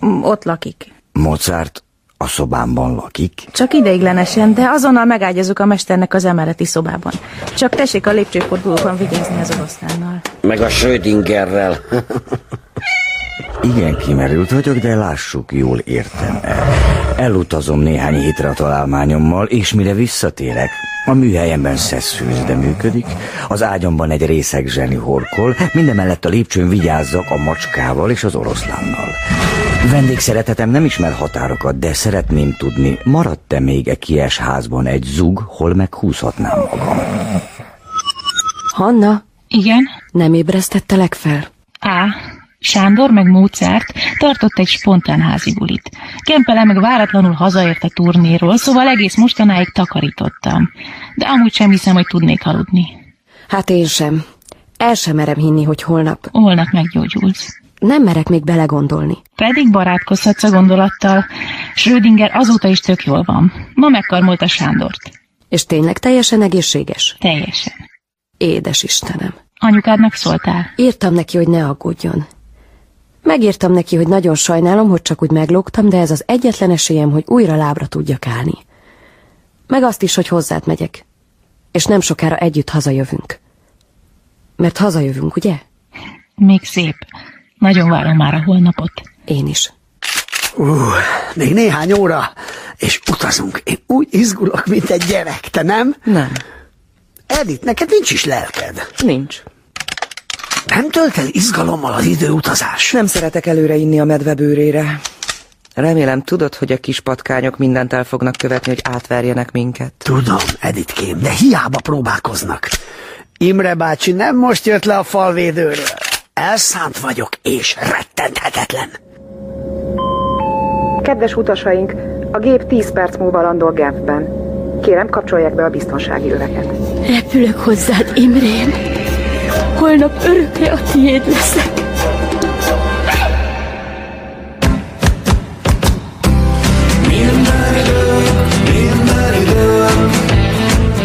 Speaker 11: M- Ott lakik.
Speaker 24: Mozart a szobámban lakik?
Speaker 11: Csak ideiglenesen, de azonnal megágyazok a mesternek az emeleti szobában. Csak tessék a lépcsőfordulókon vigyázni az oroszlánnal.
Speaker 6: Meg a Schrödingerrel.
Speaker 24: Igen, kimerült vagyok, de lássuk, jól értem el. Elutazom néhány hétre a találmányommal, és mire visszatérek, a műhelyemben szeszfőzde működik, az ágyamban egy részeg zseni horkol, mindemellett a lépcsőn vigyázzak a macskával és az oroszlánnal. Vendégszeretetem nem ismer határokat, de szeretném tudni, maradt-e még e kies házban egy zug, hol meghúzhatnám magam?
Speaker 9: Hanna?
Speaker 8: Igen?
Speaker 9: Nem ébresztettelek fel?
Speaker 8: A. Sándor meg Mozart tartott egy spontán házi bulit. Kempele meg váratlanul hazaért a turnéról, szóval egész mostanáig takarítottam. De amúgy sem hiszem, hogy tudnék aludni.
Speaker 9: Hát én sem. El sem merem hinni, hogy holnap.
Speaker 8: Holnap meggyógyulsz.
Speaker 9: Nem merek még belegondolni.
Speaker 8: Pedig barátkozhatsz a gondolattal. Schrödinger azóta is tök jól van. Ma megkarmolta Sándort.
Speaker 9: És tényleg teljesen egészséges?
Speaker 8: Teljesen.
Speaker 9: Édes Istenem.
Speaker 8: Anyukádnak szóltál?
Speaker 9: Írtam neki, hogy ne aggódjon. Megírtam neki, hogy nagyon sajnálom, hogy csak úgy meglógtam, de ez az egyetlen esélyem, hogy újra lábra tudjak állni. Meg azt is, hogy hozzád megyek. És nem sokára együtt hazajövünk. Mert hazajövünk, ugye?
Speaker 26: Még szép. Nagyon várom már a holnapot.
Speaker 9: Én is.
Speaker 10: Ú, még néhány óra, és utazunk. Én úgy izgulok, mint egy gyerek, te nem?
Speaker 8: Nem.
Speaker 10: Edith, neked nincs is lelked.
Speaker 8: Nincs.
Speaker 10: Nem tölt el izgalommal az időutazás?
Speaker 19: Nem szeretek előre inni a medve bőrére. Remélem tudod, hogy a kis patkányok mindent el fognak követni, hogy átverjenek minket.
Speaker 10: Tudom, Editkém, de hiába próbálkoznak. Imre bácsi nem most jött le a falvédőről. Elszánt vagyok, és rettenthetetlen.
Speaker 27: Kedves utasaink, a gép 10 perc múlva landol Genfben. Kérem, kapcsolják be a biztonsági öveket.
Speaker 28: Repülök hozzád, Imrém. Holnap örökre a tiéd leszek.
Speaker 21: Minden idő,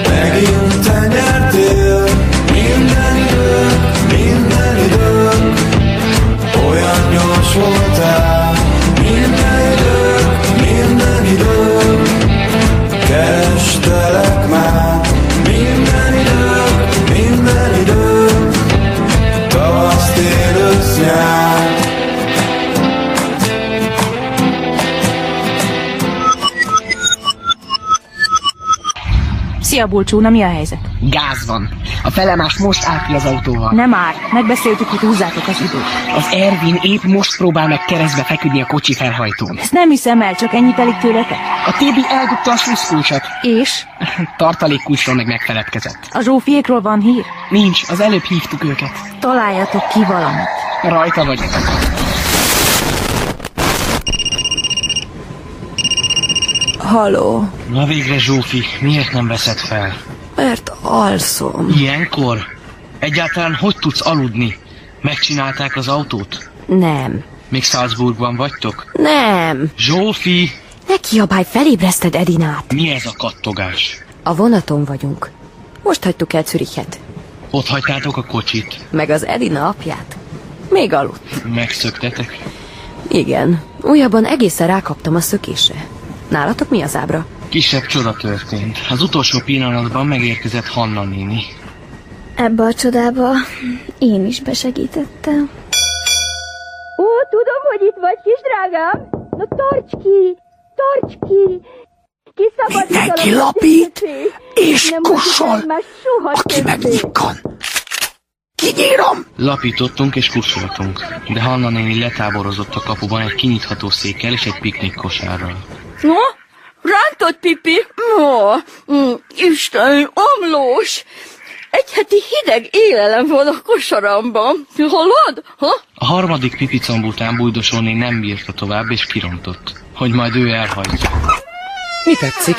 Speaker 21: megint te nyertél. Minden idő, minden idő, olyan gyors voltál. Minden idő, minden idő, kerestelek már. Minden idő, minden idő, tavasz, tél, ősz, nyár.
Speaker 8: Szia, Bulcsú, na mi a helyzet?
Speaker 4: Gáz van. A felemás most állt ki az autóval.
Speaker 8: Nem már, megbeszéltük, hogy húzzátok az időt.
Speaker 4: Az Ervin épp most próbál meg keresztbe feküdni a kocsi felhajtón.
Speaker 8: Ezt nem hiszem el, csak ennyit elég tőletek.
Speaker 4: A TB eldugta a slusszkulcsot.
Speaker 8: És?
Speaker 4: Tartalék kulcsról meg megfeledkezett.
Speaker 8: A zsófiékról van hír?
Speaker 4: Nincs, az előbb hívtuk őket.
Speaker 8: Találjatok ki valamit.
Speaker 4: Rajta vagyok.
Speaker 19: Haló,
Speaker 15: Na végre, Zsófi, miért nem veszed fel?
Speaker 19: mert alszom.
Speaker 15: Ilyenkor? Egyáltalán hogy tudsz aludni? Megcsinálták az autót?
Speaker 9: Nem.
Speaker 15: Még Salzburgban vagytok?
Speaker 9: Nem.
Speaker 15: Zsófi,
Speaker 9: Ne kiabálj, felébreszted Edinát.
Speaker 15: mi ez a kattogás?
Speaker 9: A vonaton vagyunk. Most hagytuk el Zürichet.
Speaker 15: Ott hagytátok a kocsit?
Speaker 9: Meg az Edina apját. Még aludt.
Speaker 15: Megszöktetek?
Speaker 9: Igen. Újabban egészen rákaptam a szökésre. Nálatok mi az ábra?
Speaker 15: Kisebb csoda történt. Az utolsó pillanatban megérkezett Hanna néni.
Speaker 28: Ebbe a csodába én is besegítettem.
Speaker 29: Ó, tudom, hogy itt vagy, kis drágám. Na tarts ki, tarts ki. Ki
Speaker 10: Mindenki lapít, és kussol, aki megnyikkan. Kinyírom!
Speaker 15: Lapítottunk és kussoltunk, de Hanna néni letáborozott a kapuban egy kinyitható székkel és egy piknik kosárral.
Speaker 29: No, rántott pipi. No, mm, Isten, omlós. Egy heti hideg élelem van a kosaramban. Hallod? Ha?
Speaker 15: A harmadik pipicomb után bújdosolni nem bírta tovább és kirontott, hogy majd ő elhagyja.
Speaker 13: Mi tetszik?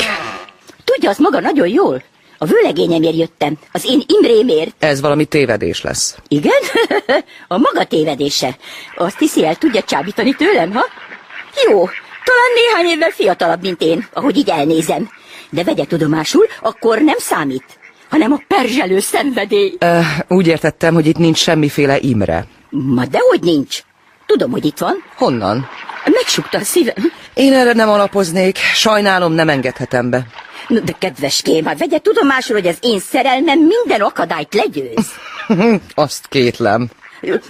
Speaker 13: Tudja azt maga nagyon jól. A vőlegényemért jöttem, az én Imrémért.
Speaker 19: Ez valami tévedés lesz.
Speaker 13: Igen? a maga tévedése. Azt hiszi el, tudja csábítani tőlem, ha? Jó, talán néhány évvel fiatalabb, mint én, ahogy így elnézem. De vegye tudomásul, akkor nem számít, hanem a perzselő szenvedély.
Speaker 19: Uh, úgy értettem, hogy itt nincs semmiféle Imre.
Speaker 13: Ma dehogy nincs. Tudom, hogy itt van.
Speaker 19: Honnan?
Speaker 13: Megsukta a szívem.
Speaker 19: Én erre nem alapoznék, sajnálom, nem engedhetem be.
Speaker 13: Na, De kedveském, hát vegye tudomásul, hogy az én szerelmem minden akadályt legyőz.
Speaker 19: Azt kétlem.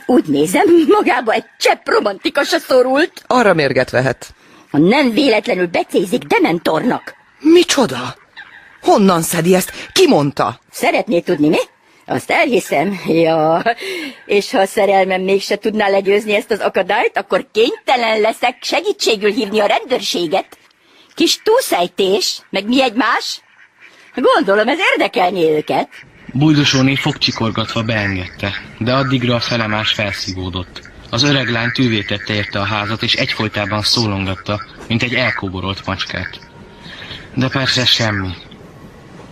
Speaker 13: Úgy nézem, magába egy csepp romantikasa szorult.
Speaker 19: Arra mérget vehet.
Speaker 13: Ha nem véletlenül becézik dementornak.
Speaker 19: Micsoda? Honnan szedi ezt? Ki mondta?
Speaker 13: Szeretné tudni, mi? Azt elhiszem. Ja, és ha a szerelmem mégse tudná legyőzni ezt az akadályt, akkor kénytelen leszek segítségül hívni a rendőrséget. Kis túlszejtés, meg mi egymás? Gondolom, ez érdekelni őket.
Speaker 15: Bújdosóné fogcsikorgatva beengedte, de addigra a felemás felszívódott. Az öreg lány tűvé tette érte a házat, és egyfolytában szólongatta, mint egy elkoborolt macskát. De persze semmi.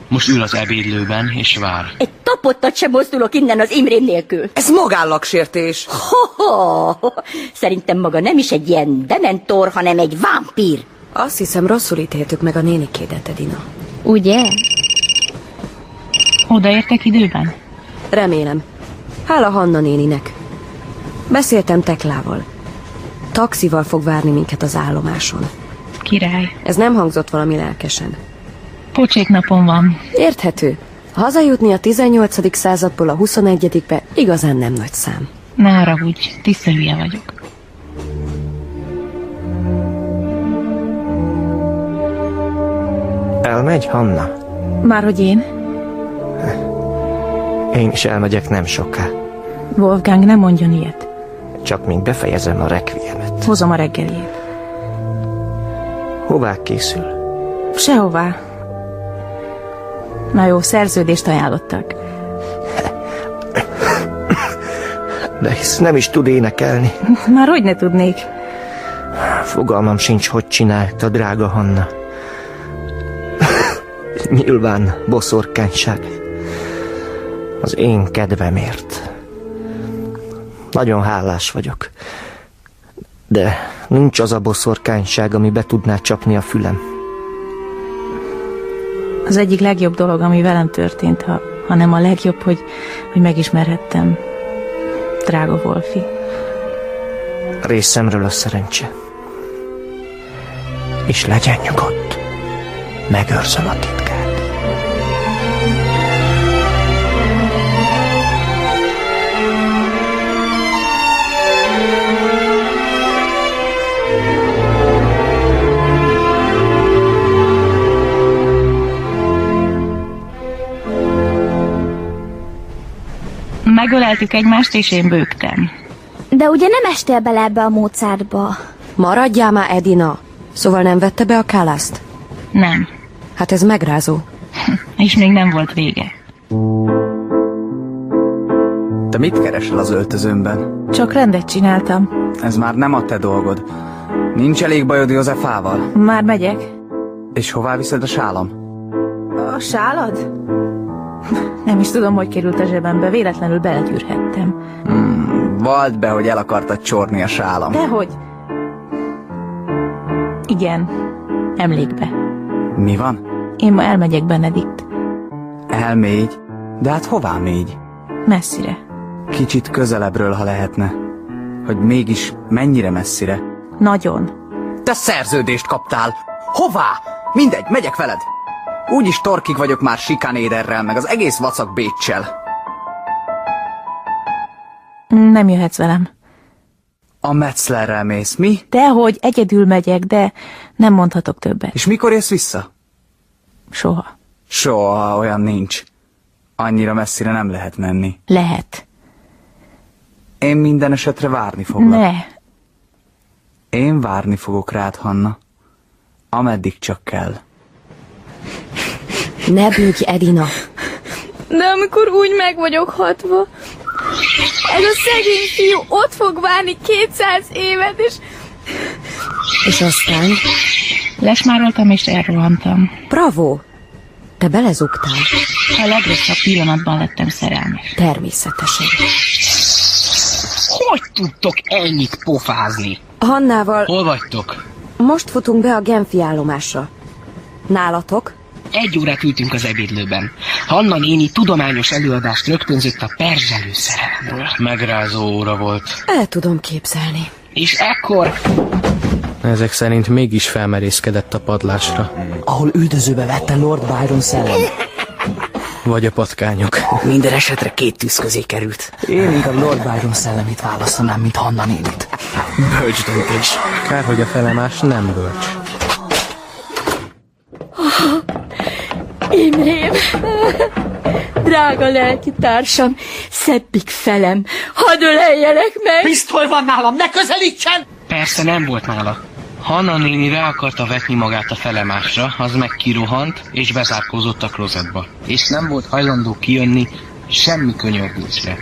Speaker 15: Most ül az ebédlőben, és vár.
Speaker 13: Egy tapottat sem mozdulok innen az Imrém nélkül.
Speaker 19: Ez magállagsértés.
Speaker 13: Ho-ho! Szerintem maga nem is egy ilyen dementor, hanem egy vámpír.
Speaker 9: Azt hiszem, rosszul ítéltük meg a nénikédet, Edina.
Speaker 30: Ugye?
Speaker 13: Odaértek időben?
Speaker 9: Remélem. Hála Hanna néninek. Beszéltem Teklával. Taxival fog várni minket az állomáson.
Speaker 13: Király.
Speaker 9: Ez nem hangzott valami lelkesen.
Speaker 13: Pocsék napom van.
Speaker 9: Érthető. Hazajutni a 18. századból a 21-be igazán nem nagy szám.
Speaker 31: Ne haragudj, tiszta hülye vagyok.
Speaker 7: Elmegy, Hanna?
Speaker 8: Márhogy én?
Speaker 7: Én is elmegyek nem soká.
Speaker 8: Wolfgang, ne mondjon ilyet.
Speaker 7: Csak mint befejezem a requiemet.
Speaker 8: Hozom a reggelit.
Speaker 7: Hová készül?
Speaker 8: Sehová. Na jó, szerződést ajánlottak.
Speaker 7: De hisz nem is tud énekelni.
Speaker 8: Már hogy ne tudnék.
Speaker 7: Fogalmam sincs, hogy csinálta, drága Hanna. Nyilván boszorkányság. Az én kedvemért. Nagyon hálás vagyok. De nincs az a boszorkányság, ami be tudná csapni a fülem.
Speaker 8: Az egyik legjobb dolog, ami velem történt, ha, hanem a legjobb, hogy, hogy megismerhettem. Drága Wolfi.
Speaker 7: Részemről a szerencse. És legyen nyugodt. Megőrzöm a titkát.
Speaker 31: Megöleltük egymást, és én bőgtem.
Speaker 2: De ugye nem estél bele ebbe a módszerbe?
Speaker 9: Maradjál már, Edina! Szóval nem vette be a kálászt?
Speaker 31: Nem.
Speaker 9: Hát ez megrázó.
Speaker 31: És még nem volt vége.
Speaker 12: Te mit keresel az öltözőmben?
Speaker 8: Csak rendet csináltam.
Speaker 12: Ez már nem a te dolgod. Nincs elég bajod Józsefával.
Speaker 8: Már megyek.
Speaker 12: És hová viszed a sálam?
Speaker 8: A sálad? Nem is tudom, hogy került a zsebembe, véletlenül belegyűrhettem.
Speaker 12: Hmm, vald be, hogy el akartad csorni a sálam.
Speaker 8: Dehogy? Igen, emlékbe.
Speaker 12: Mi van?
Speaker 8: Én ma elmegyek Benedikt,
Speaker 12: Elmégy. De hát hová mégy?
Speaker 8: messzire.
Speaker 12: Kicsit közelebbről, ha lehetne. Hogy mégis mennyire messzire?
Speaker 8: Nagyon.
Speaker 12: Te szerződést kaptál! Hová? Mindegy, megyek veled! Úgyis torkig vagyok már sikanéderrel, meg az egész vacak béccsel.
Speaker 8: Nem jöhetsz velem.
Speaker 12: A Metzlerrel mész, mi?
Speaker 8: Dehogy, egyedül megyek, de nem mondhatok többet.
Speaker 12: És mikor jössz vissza?
Speaker 8: Soha.
Speaker 12: Soha olyan nincs. Annyira messzire nem lehet menni.
Speaker 8: Lehet.
Speaker 12: Én minden esetre várni foglak.
Speaker 8: Ne.
Speaker 12: Én várni fogok rád, Hanna. Ameddig csak kell.
Speaker 9: Ne bűgj, Edina!
Speaker 13: De amikor úgy meg vagyok hatva, ez a szegény fiú ott fog várni 200 évet, és
Speaker 9: És aztán...
Speaker 31: Lesmároltam és elrohantam.
Speaker 9: Bravo! Te belezugtál.
Speaker 31: A legrosszabb pillanatban lettem szerelmes.
Speaker 9: Természetesen.
Speaker 15: Hogy tudtok ennyit pofázni?
Speaker 9: Hannával
Speaker 15: Hol vagytok?
Speaker 9: most futunk be a Genfi állomásra. Nálatok?
Speaker 15: Egy órát ültünk az ebédlőben. Hanna néni tudományos előadást rögtönzött a perzselő szerelemről.
Speaker 7: Megrázó óra volt.
Speaker 9: El tudom képzelni.
Speaker 15: És ekkor...
Speaker 7: Ezek szerint mégis felmerészkedett a padlásra.
Speaker 32: ahol üldözőbe vette Lord Byron szellem.
Speaker 7: Vagy a patkányok.
Speaker 32: Minden esetre két tűz közé került. Én inkább Lord Byron szellemét választanám, mint Hanna nénit.
Speaker 7: Bölcs döntés. Kár, hogy a felemás nem bölcs.
Speaker 13: Imrém, drága lelki társam, szebbik felem, hadd öleljelek meg! Pisztoly van nálam, ne közelítsen!
Speaker 15: Persze nem volt nála. Hanna néni rá akarta vetni magát a felemásra, az meg kirohant, és bezárkózott a klozetba. És nem volt hajlandó kijönni semmi könyörgésre.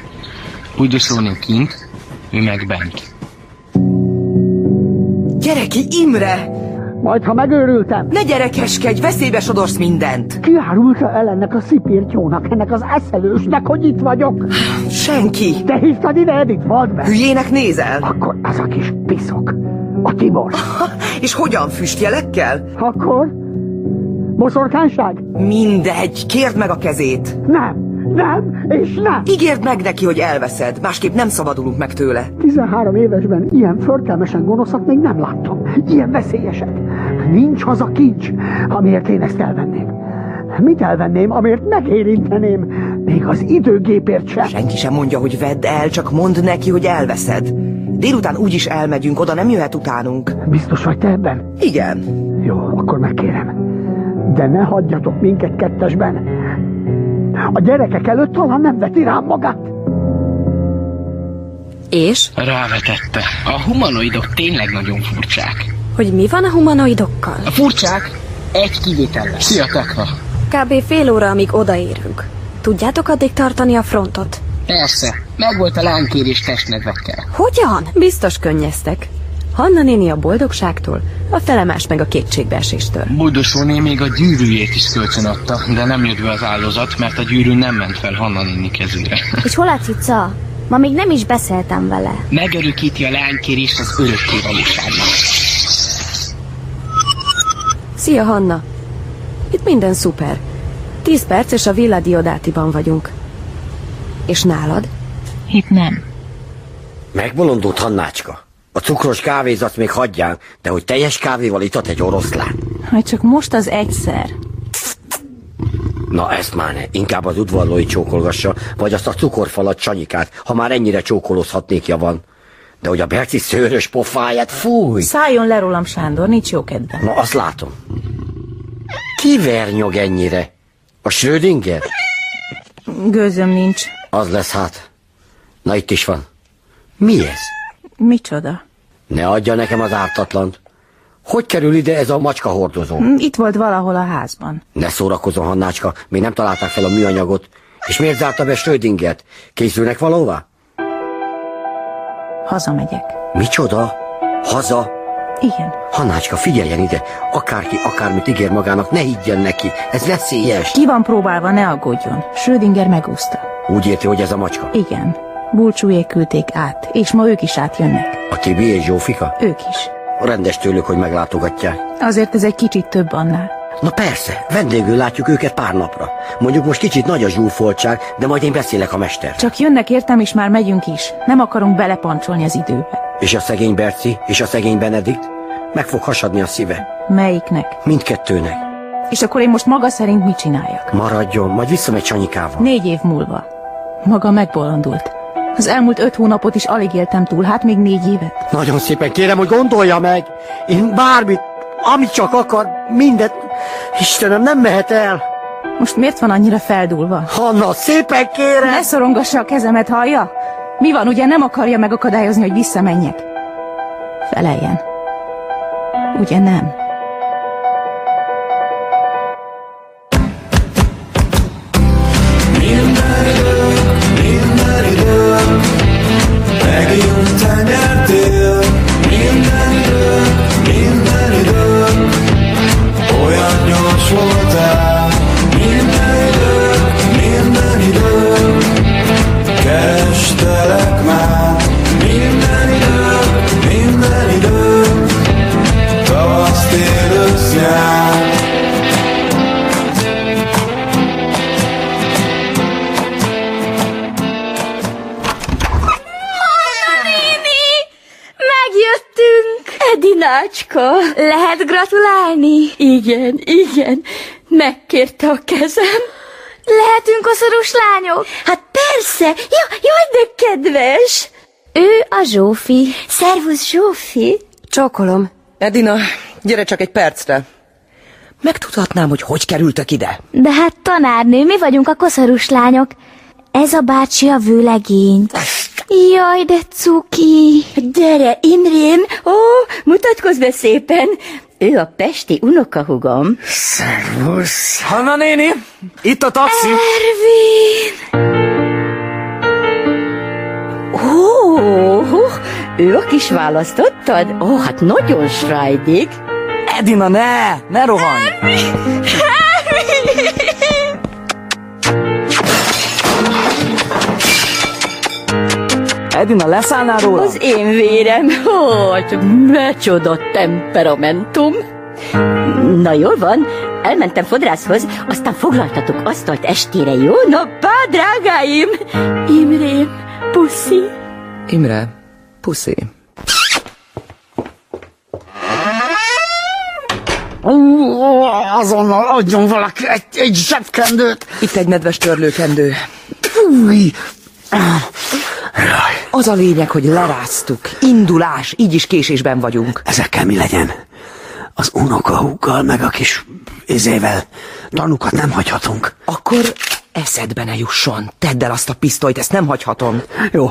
Speaker 15: Újdosónő kint, ő meg bent.
Speaker 19: Gyere ki, Imre! Majd, ha megőrültem. Ne gyerekeskedj, veszélybe sodorsz mindent.
Speaker 10: Ki árulta el ennek a szipirtyónak, ennek az eszelősnek, hogy itt vagyok?
Speaker 19: Senki.
Speaker 10: Te hívtad ide, Edith, mondd meg!
Speaker 19: Hülyének nézel?
Speaker 10: Akkor az a kis piszok, a Tibor.
Speaker 19: És hogyan füstjelekkel?
Speaker 10: Akkor? Boszorkánság?
Speaker 19: Mindegy, kérd meg a kezét. Nem, nem, és nem. Ígérd meg neki, hogy elveszed, másképp nem szabadulunk meg tőle.
Speaker 10: 13 évesben ilyen förtelmesen gonoszat még nem láttam. Ilyen veszélyeset. Nincs haza kincs, amiért én ezt elvenném. Mit elvenném, amért megérinteném? Még az időgépért sem.
Speaker 19: Senki sem mondja, hogy vedd el, csak mondd neki, hogy elveszed. Délután úgyis elmegyünk, oda nem jöhet utánunk.
Speaker 10: Biztos vagy te ebben?
Speaker 19: Igen.
Speaker 10: Jó, akkor megkérem. De ne hagyjatok minket kettesben. A gyerekek előtt talán nem veti rám magát.
Speaker 9: És?
Speaker 4: Rávetette. A humanoidok tényleg nagyon furcsák.
Speaker 9: Hogy mi van a humanoidokkal?
Speaker 4: A furcsák egy kivétellel. Szia, Tekla!
Speaker 9: Kb. fél óra, amíg odaérünk. Tudjátok addig tartani a frontot?
Speaker 4: Persze, megvolt a lánykérés testnedvekkel.
Speaker 9: Hogyan? Biztos könnyeztek. Hanna néni a boldogságtól, a felemás meg a kétségbeeséstől.
Speaker 4: Buldosóné még a gyűrűjét is kölcsön adta, de nem jött be az áldozat, mert a gyűrű nem ment fel Hanna néni kezére.
Speaker 2: És hol a cica? Ma még nem is beszéltem vele.
Speaker 4: Megörökíti a lánykérést az örökké valóságnak.
Speaker 9: Szia, Hanna! Itt minden szuper. Tíz perc és a Villa Diodátiban vagyunk. És nálad?
Speaker 33: Itt nem.
Speaker 6: Megbolondult Hannácska. A cukros kávézat még hagyján, de hogy teljes kávéval itat egy oroszlán.
Speaker 8: Hogy csak most az egyszer.
Speaker 6: Na ezt már ne, inkább az udvarlói csókolgassa, vagy azt a cukorfalat csanyikát, ha már ennyire csókolózhatnék van. De hogy a Berci szőrös pofáját, fúj!
Speaker 8: Szálljon le rólam, Sándor, nincs jó kedve.
Speaker 6: Na azt látom. Ki vernyog ennyire? A Schrödinger?
Speaker 8: Gőzöm nincs.
Speaker 6: Az lesz hát. Na itt is van. Mi ez?
Speaker 8: Micsoda?
Speaker 6: Ne adja nekem az ártatlant. Hogy kerül ide ez a macska hordozó?
Speaker 8: Hm, Itt volt valahol a házban.
Speaker 6: Ne szórakozom, Hannácska, még nem találták fel a műanyagot. És miért zárta be Schrödingert? Készülnek valóvá?
Speaker 8: Hazamegyek.
Speaker 6: Micsoda? Haza?
Speaker 8: Igen.
Speaker 6: Hanácska, figyeljen ide! Akárki akármit ígér magának, ne higgyen neki! Ez veszélyes!
Speaker 8: Ki van próbálva, ne aggódjon. Schrödinger megúszta.
Speaker 6: Úgy érti, hogy ez a macska?
Speaker 8: Igen. Bulcsújék küldték át, és ma ők is átjönnek.
Speaker 6: A Tibi és Zsófika?
Speaker 8: Ők is.
Speaker 6: Rendes tőlük, hogy meglátogatják.
Speaker 8: Azért ez egy kicsit több annál.
Speaker 6: Na persze, vendégül látjuk őket pár napra. Mondjuk most kicsit nagy a zsúfoltság, de majd én beszélek a mester.
Speaker 8: Csak jönnek értem, és már megyünk is. Nem akarunk belepancsolni az időbe.
Speaker 6: És a szegény Berci, és a szegény Benedikt? Meg fog hasadni a szíve.
Speaker 8: Melyiknek?
Speaker 6: Mindkettőnek.
Speaker 8: És akkor én most maga szerint mit csináljak?
Speaker 6: Maradjon, majd visszamegy Csanyikával.
Speaker 8: Négy év múlva. Maga megbolondult. Az elmúlt öt hónapot is alig éltem túl, hát még négy évet.
Speaker 6: Nagyon szépen kérem, hogy gondolja meg! Én bármit, amit csak akar, mindent... Istenem, nem mehet Hát el!
Speaker 8: Most miért van annyira feldúlva?
Speaker 6: Hanna, szépen kérem!
Speaker 8: Ne szorongassa a kezemet, hallja? Mi van, ugye nem akarja megakadályozni, hogy visszamenjek? Feleljen. Ugye nem?
Speaker 21: Minden idők, megint te nyertél. Minden idők, minden idők, olyan gyors voltál. Minden idők, minden idők, kerestelek már. Minden idők, minden idők, tavasz, tél, ősz, nyár.
Speaker 13: Néni! Megjöttünk! Edinácska!
Speaker 2: Lehet gratulálni?
Speaker 13: Igen, igen. Megkérte a kezem.
Speaker 2: Lehetünk koszorús lányok?
Speaker 13: Hát persze! Ja, jaj, de kedves!
Speaker 2: Ő a Zsófi.
Speaker 13: Szervusz, Zsófi!
Speaker 9: Csókolom.
Speaker 34: Edina, gyere csak egy percre. Megtudhatnám, hogy hogy kerültök ide?
Speaker 2: De hát tanárnő, mi vagyunk a koszorús lányok. Ez a bácsi a vőlegény. Jaj, de cuki!
Speaker 13: Gyere, Imrém! Ó, mutatkozz be szépen! Ő a pesti unokahugom.
Speaker 35: Szervusz!
Speaker 15: Hanna néni, itt a taxi!
Speaker 13: Ervin! Ó, hú, ő a kis választottad? Ó, hát nagyon srájdik.
Speaker 15: Edina, ne! Ne rohanj! Edina, leszállnál róla?
Speaker 13: Az én vérem, hogy mecsoda temperamentum. Na jól van, elmentem fodrászhoz, aztán foglaltatok asztalt estére, jó? Na bá, drágáim! Imrém, puszi!
Speaker 34: Imre, puszi.
Speaker 10: azonnal adjon valaki egy, egy zsebkendőt.
Speaker 19: Itt egy medves törlőkendő.
Speaker 10: Fúj!
Speaker 19: Az a lényeg, hogy leráztuk. Indulás, így is késésben vagyunk.
Speaker 36: Ezekkel mi legyen? Az unokahúkkal, meg a kis izével tanukat nem hagyhatunk.
Speaker 19: Akkor eszedbe ne jusson. Tedd el azt a pisztolyt, ezt nem hagyhatom.
Speaker 36: Jó,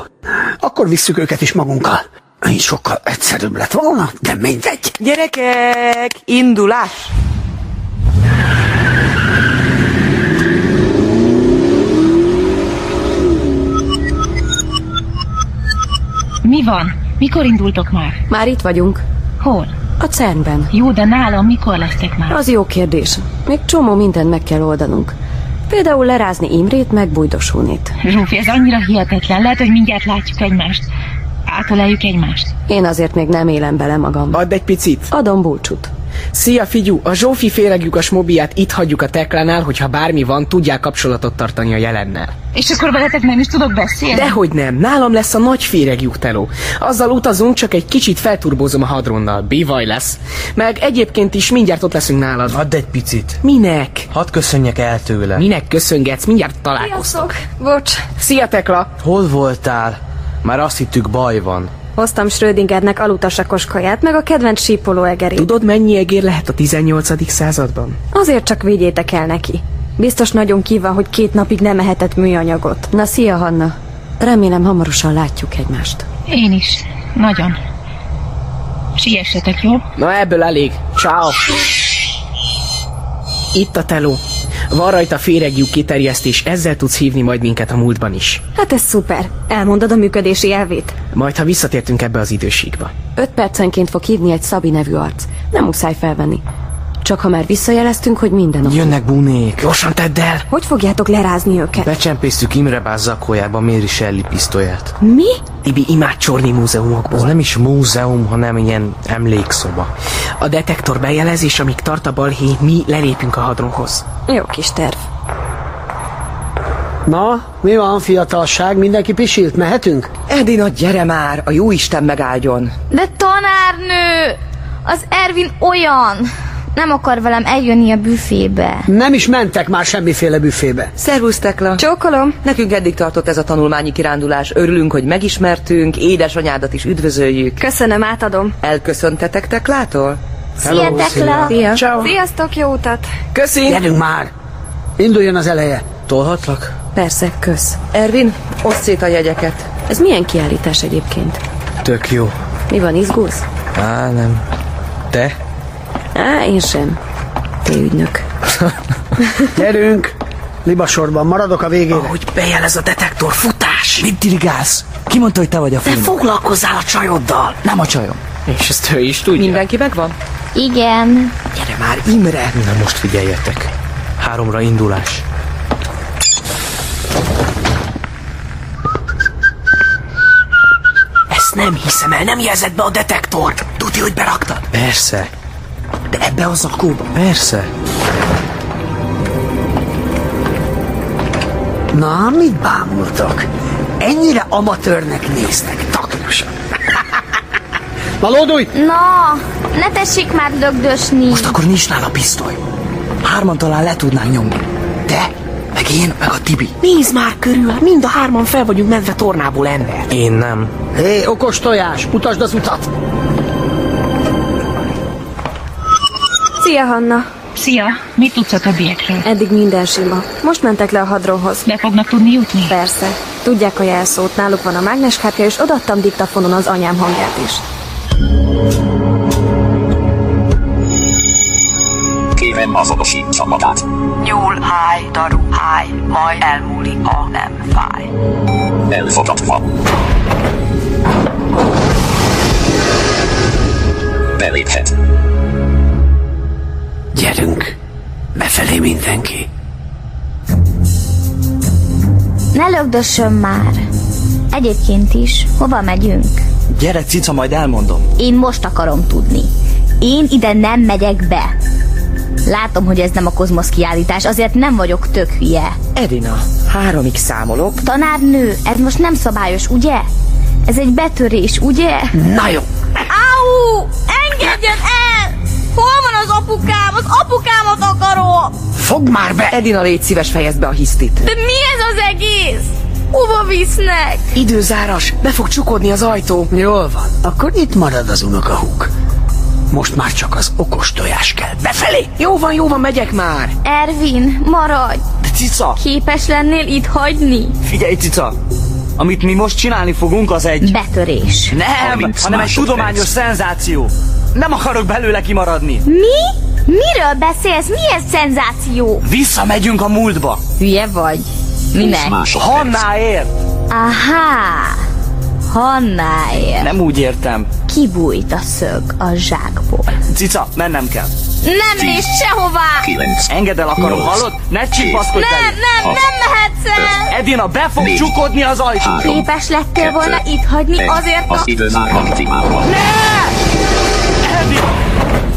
Speaker 36: akkor visszük őket is magunkkal. Így sokkal egyszerűbb lett volna, de mindegy.
Speaker 37: Gyerekek, indulás!
Speaker 8: Mi van? Mikor indultok már?
Speaker 9: Már itt vagyunk.
Speaker 8: Hol?
Speaker 9: A CERN-ben.
Speaker 8: Jó, de nálam mikor lesztek már?
Speaker 9: Az jó kérdés. Még csomó mindent meg kell oldanunk. Például lerázni Imrét, meg Bújdosunit.
Speaker 8: Zsófi, ez annyira hihetetlen. Lehet, hogy mindjárt látjuk egymást. Átöleljük egymást.
Speaker 9: Én azért még nem élem bele magam.
Speaker 4: Add egy picit.
Speaker 9: Adom búcsút.
Speaker 4: Szia, figyú! A Zsófi féreglyukas mobiát itt hagyjuk a teklánál, hogyha bármi van, tudják kapcsolatot tartani a jelennel.
Speaker 8: És akkor veletek nem is tudok beszélni?
Speaker 4: Dehogy nem, nálam lesz a nagy féreglyuk teló. Azzal utazunk, csak egy kicsit felturbózom a hadronnal. Bivaj lesz. Meg egyébként is mindjárt ott leszünk nálad.
Speaker 15: Add egy picit.
Speaker 4: Minek?
Speaker 15: Hadd köszönjek el tőle.
Speaker 4: Minek köszöngetsz? Mindjárt találkoztok.
Speaker 9: Sziasztok! Bocs,
Speaker 4: Szia, Tekla!
Speaker 15: Hol voltál? Már azt hittük baj van.
Speaker 1: Hoztam Schrödingernek alutasakos kaját, meg a kedvenc sípoló egerét.
Speaker 4: Tudod, mennyi egér lehet a 18. században?
Speaker 1: Azért csak vigyétek el neki. Biztos nagyon kíván, hogy két napig nem ehetett műanyagot.
Speaker 9: Na, szia, Hanna. Remélem, hamarosan látjuk egymást.
Speaker 8: Én is. Nagyon. Siessetek, jó?
Speaker 4: Na ebből elég. Ciao. Itt a teló. Van rajta féregjú kiterjesztés, ezzel tudsz hívni majd minket a múltban is.
Speaker 1: Hát ez szuper. Elmondod a működési elvét.
Speaker 4: Majd, ha visszatértünk ebbe az időségbe.
Speaker 9: Öt percenként fog hívni egy Szabi nevű arc. Nem muszáj felvenni. Csak ha már visszajeleztünk, hogy minden oké.
Speaker 15: Jönnek bunék.
Speaker 4: Gyorsan tedd el!
Speaker 1: Hogy fogjátok lerázni őket?
Speaker 15: Becsempésztük Imre Báz zakójába Méri Shelley pisztolyát.
Speaker 1: Mi?
Speaker 4: Tibi imád csorni múzeumokból.
Speaker 15: Az nem is múzeum, hanem ilyen emlékszoba.
Speaker 4: A detektor bejelez, és amíg tart a balhé, mi lelépünk a hadronhoz.
Speaker 1: Jó kis terv.
Speaker 10: Na, mi van, fiatalság? Mindenki pisilt? Mehetünk?
Speaker 19: Edina, gyere már, a jó Isten megáldjon.
Speaker 38: De tanárnő! Az Ervin olyan! Nem akar velem eljönni a büfébe.
Speaker 10: Nem is mentek már semmiféle büfébe.
Speaker 19: Szervusz, Tekla!
Speaker 1: Csókolom!
Speaker 19: Nekünk eddig tartott ez a tanulmányi kirándulás. Örülünk, hogy megismertünk, édesanyádat is üdvözöljük.
Speaker 1: Köszönöm, átadom.
Speaker 19: Elköszöntetek Teklától?
Speaker 38: Szia, Tekla!
Speaker 19: Szia.
Speaker 1: Ciao. Sziasztok, jó utat!
Speaker 4: Köszi!
Speaker 10: Gyerünk már! Induljon az eleje!
Speaker 15: Tolhatlak?
Speaker 9: Persze, kösz.
Speaker 19: Ervin, oszd szét a jegyeket.
Speaker 9: Ez milyen kiállítás egyébként?
Speaker 15: Tök jó.
Speaker 9: Mi van, izgulsz?
Speaker 15: Á, nem. Te?
Speaker 9: Á, én sem. Te ügynök.
Speaker 10: Gyerünk! Libasorban maradok a végére.
Speaker 4: Ahogy bejelez a detektor, futás!
Speaker 39: Mit dirigálsz? Ki mondta, hogy te vagy a
Speaker 4: Te
Speaker 39: film?
Speaker 4: foglalkozzál a csajoddal!
Speaker 39: Nem a csajom.
Speaker 4: És ezt ő is tudja.
Speaker 19: Mindenki megvan?
Speaker 38: Igen.
Speaker 4: Gyere már, Imre!
Speaker 15: Na most figyeljetek. Háromra indulás.
Speaker 4: Ezt nem hiszem el, nem jelzett be a detektor! Tudja, hogy beraktad?
Speaker 15: Persze,
Speaker 4: De ebbe az zakóba.
Speaker 15: persze.
Speaker 10: Na, mit bámultok? Ennyire amatőrnek néznek, taknosan. Na, lódulj!
Speaker 38: Na, ne tessék már dögdösni.
Speaker 39: Most akkor nincs nála pisztoly. Hárman talán le tudnánk nyomni. Te, meg én, meg a Tibi.
Speaker 4: Nézd már körül, hát mind a hárman fel vagyunk medve tornából ember.
Speaker 15: Én nem.
Speaker 10: Hé, okos tojás, mutasd az utat!
Speaker 1: Szia, Hanna!
Speaker 8: Szia! Mit tudsz a többiekről?
Speaker 1: Eddig minden sima. Most mentek le a hadronhoz.
Speaker 8: Be fognak tudni jutni?
Speaker 1: Persze. Tudják a jelszót, náluk van a mágneskártya, és odaadtam diktafonon az anyám hangját is.
Speaker 20: Kérem azonosítsa magát.
Speaker 16: Nyúl, háj, daru, háj, majd elmúlik, ha nem fáj.
Speaker 20: Elfogadva. Beléphet.
Speaker 36: Gyerünk, befelé mindenki.
Speaker 2: Ne lögdössön már! Egyébként is, hova megyünk?
Speaker 39: Gyere, cica, majd elmondom.
Speaker 2: Én most akarom tudni. Én ide nem megyek be. Látom, hogy ez nem a kozmosz kiállítás, azért nem vagyok tök hülye.
Speaker 19: Edina, háromig számolok.
Speaker 2: Tanárnő, ez most nem szabályos, ugye? Ez egy betörés, ugye?
Speaker 36: Na jó,
Speaker 32: E,
Speaker 16: Au! Engedjen el! Hol van az apukám? Az apukámat
Speaker 10: Fogd már be!
Speaker 19: Edina, légy szíves, fejezd be a hisztit.
Speaker 16: De mi ez az egész? Hova visznek?
Speaker 4: Időzáras, be fog csukodni az ajtó.
Speaker 10: Jól van, akkor itt marad az unokahúg. Most már csak az okos tojás kell. Befelé!
Speaker 4: Jó van, jó van, megyek már.
Speaker 16: Ervin, maradj!
Speaker 32: Cica!
Speaker 16: Képes lennél itt hagyni?
Speaker 32: Figyelj, Cica! Amit mi most csinálni fogunk, az egy...
Speaker 2: Betörés.
Speaker 32: Nem,
Speaker 2: 30
Speaker 32: hanem egy tudományos szenzáció. Nem akarok belőle kimaradni.
Speaker 2: Mi? Miről beszélsz? Mi ez szenzáció?
Speaker 32: Visszamegyünk a múltba.
Speaker 2: Hülye vagy? Minek?
Speaker 32: Hannáért!
Speaker 2: Aha! Hannáért.
Speaker 32: Nem úgy értem.
Speaker 2: Kibújt a szög a zsákból.
Speaker 32: Cica, mennem kell.
Speaker 2: Nem lépj sehová!
Speaker 32: Engedd el akarom,
Speaker 2: Nyolc.
Speaker 32: hallod? Ne csipaszkodj
Speaker 2: Nem,
Speaker 32: velünk.
Speaker 2: nem, nem mehetsz el!
Speaker 32: Edina, be fog csukodni az ajtót!
Speaker 16: Képes lettél volna itt hagyni azért a...
Speaker 32: időzár aktiválva.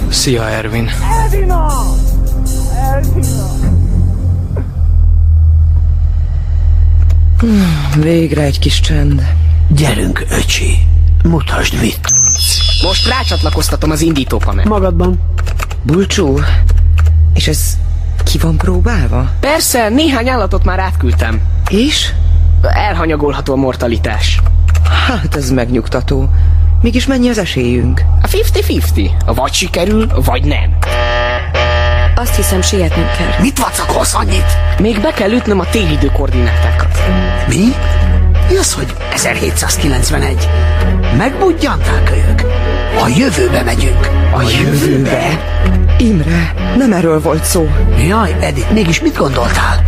Speaker 15: Szia, Ervin.
Speaker 10: Edina! Edina!
Speaker 19: Hmm, Végre egy kis csend.
Speaker 10: Gyerünk, öcsi. Mutasd mit.
Speaker 4: Most rácsatlakoztatom az indítópanelt.
Speaker 10: Magadban.
Speaker 19: Bulcsú? És ez ki van próbálva?
Speaker 4: Persze, néhány állatot már átküldtem.
Speaker 19: És?
Speaker 4: Elhanyagolható a mortalitás.
Speaker 19: Hát ez megnyugtató. Mégis mennyi az esélyünk?
Speaker 4: A 50-50. Vagy sikerül, vagy nem.
Speaker 9: Azt hiszem, sietnünk kell.
Speaker 10: Mit vacakolsz annyit?
Speaker 4: Még be kell ütnöm a télidő koordinátákat.
Speaker 10: Mi? Mi az, hogy 1791? Megbudjantál kölyök? A jövőbe megyünk. A jövőbe?
Speaker 19: Imre, nem erről volt szó.
Speaker 10: Jaj, Edith, mégis mit gondoltál?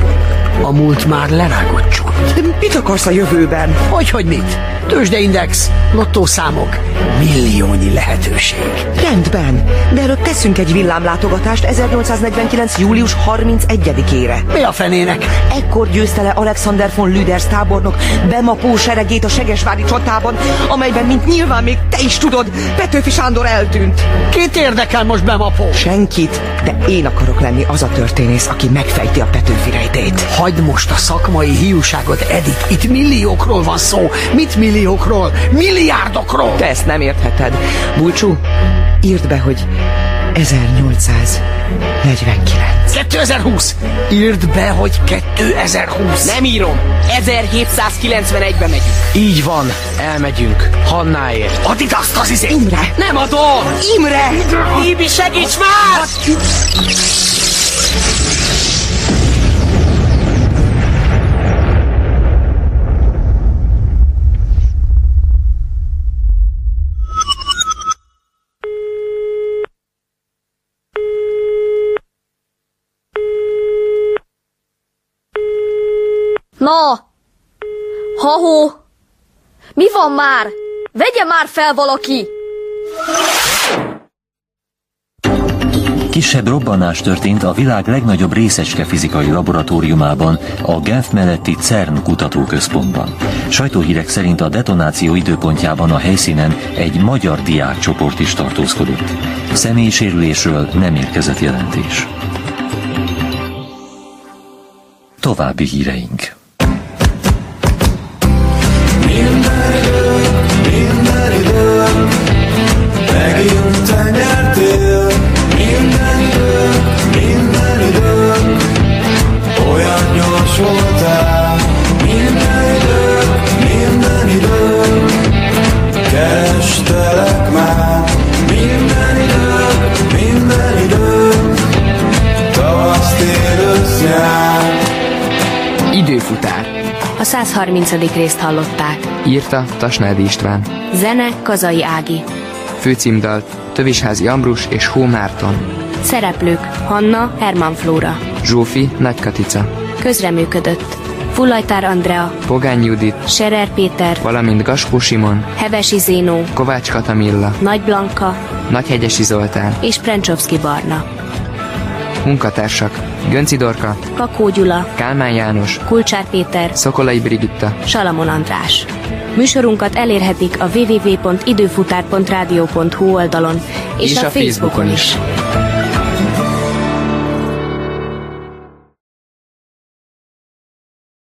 Speaker 10: A múlt már lerágott csont.
Speaker 19: De mit akarsz a jövőben?
Speaker 10: Hogy, hogy mit? Tőzsdeindex, lottószámok, milliónyi lehetőség.
Speaker 19: Rendben, de előbb teszünk egy villámlátogatást 1849. július 31-ére.
Speaker 10: Mi a fenének?
Speaker 19: Ekkor győzte le Alexander von Lüders tábornok bemapó seregét a Segesvári csatában, amelyben, mint nyilván még te is tudod, Petőfi Sándor eltűnt.
Speaker 10: Kit érdekel most bemapó?
Speaker 19: Senkit, de én akarok lenni az a történész, aki megfejti a Petőfi rejtét.
Speaker 10: Hagyd most a szakmai hiúságot, Edith. Itt milliókról van szó. Mit milliókról? Milliárdokról.
Speaker 19: Te ezt nem értheted. Bulcsú, írd be, hogy 1849.
Speaker 10: 2020. Írd be, hogy 2020.
Speaker 4: Nem írom. 1791-ben megyünk.
Speaker 15: Így van, elmegyünk. Hannáért.
Speaker 10: Addig azt az izét.
Speaker 19: Imre!
Speaker 4: Nem adom!
Speaker 19: Imre!
Speaker 4: Ibi, segíts már!
Speaker 3: Na! Hahó! Mi van már? Vegye már fel valaki!
Speaker 20: Kisebb robbanás történt a világ legnagyobb részecske fizikai laboratóriumában, a Genf melletti CERN kutatóközpontban. Sajtóhírek szerint a detonáció időpontjában a helyszínen egy magyar diákcsoport is tartózkodott. Személysérülésről nem érkezett jelentés. További híreink.
Speaker 21: Minden idő, megint te nyertél. Minden idő, minden idő, olyan gyors voltál. Minden idő, minden idő, kerestelek már. Minden idő, minden idő, tavasz, tél, ősz, nyár.
Speaker 18: Időfutár.
Speaker 25: A 130. részt hallották.
Speaker 18: Írta Tasnádi István.
Speaker 25: Zene Kazai Ági.
Speaker 18: Főcímdalt Tövisházi Ambrus és Hó Márton.
Speaker 25: Szereplők Hanna Herman Flóra.
Speaker 18: Zsófi Nagy Katica.
Speaker 25: Közreműködött Fullajtár Andrea,
Speaker 18: Pogány Judit.
Speaker 25: Serer Péter,
Speaker 18: Valamint Gaspó Simon.
Speaker 25: Hevesi Zénó,
Speaker 18: Kovács Katamilla.
Speaker 25: Izé, Nagy Blanka
Speaker 18: Nagyhegyesi Zoltán.
Speaker 25: és Prencsovszki Barna.
Speaker 18: Munkatársak. Gönci Dorka.
Speaker 25: Kakó Gyula,
Speaker 18: Kálmán János.
Speaker 25: Kulcsár Péter,
Speaker 18: Szokolai Brigitta.
Speaker 25: Salamon András. Műsorunkat elérhetik a www.időfutár.rádió.hu oldalon és,
Speaker 18: És a Facebookon
Speaker 25: is.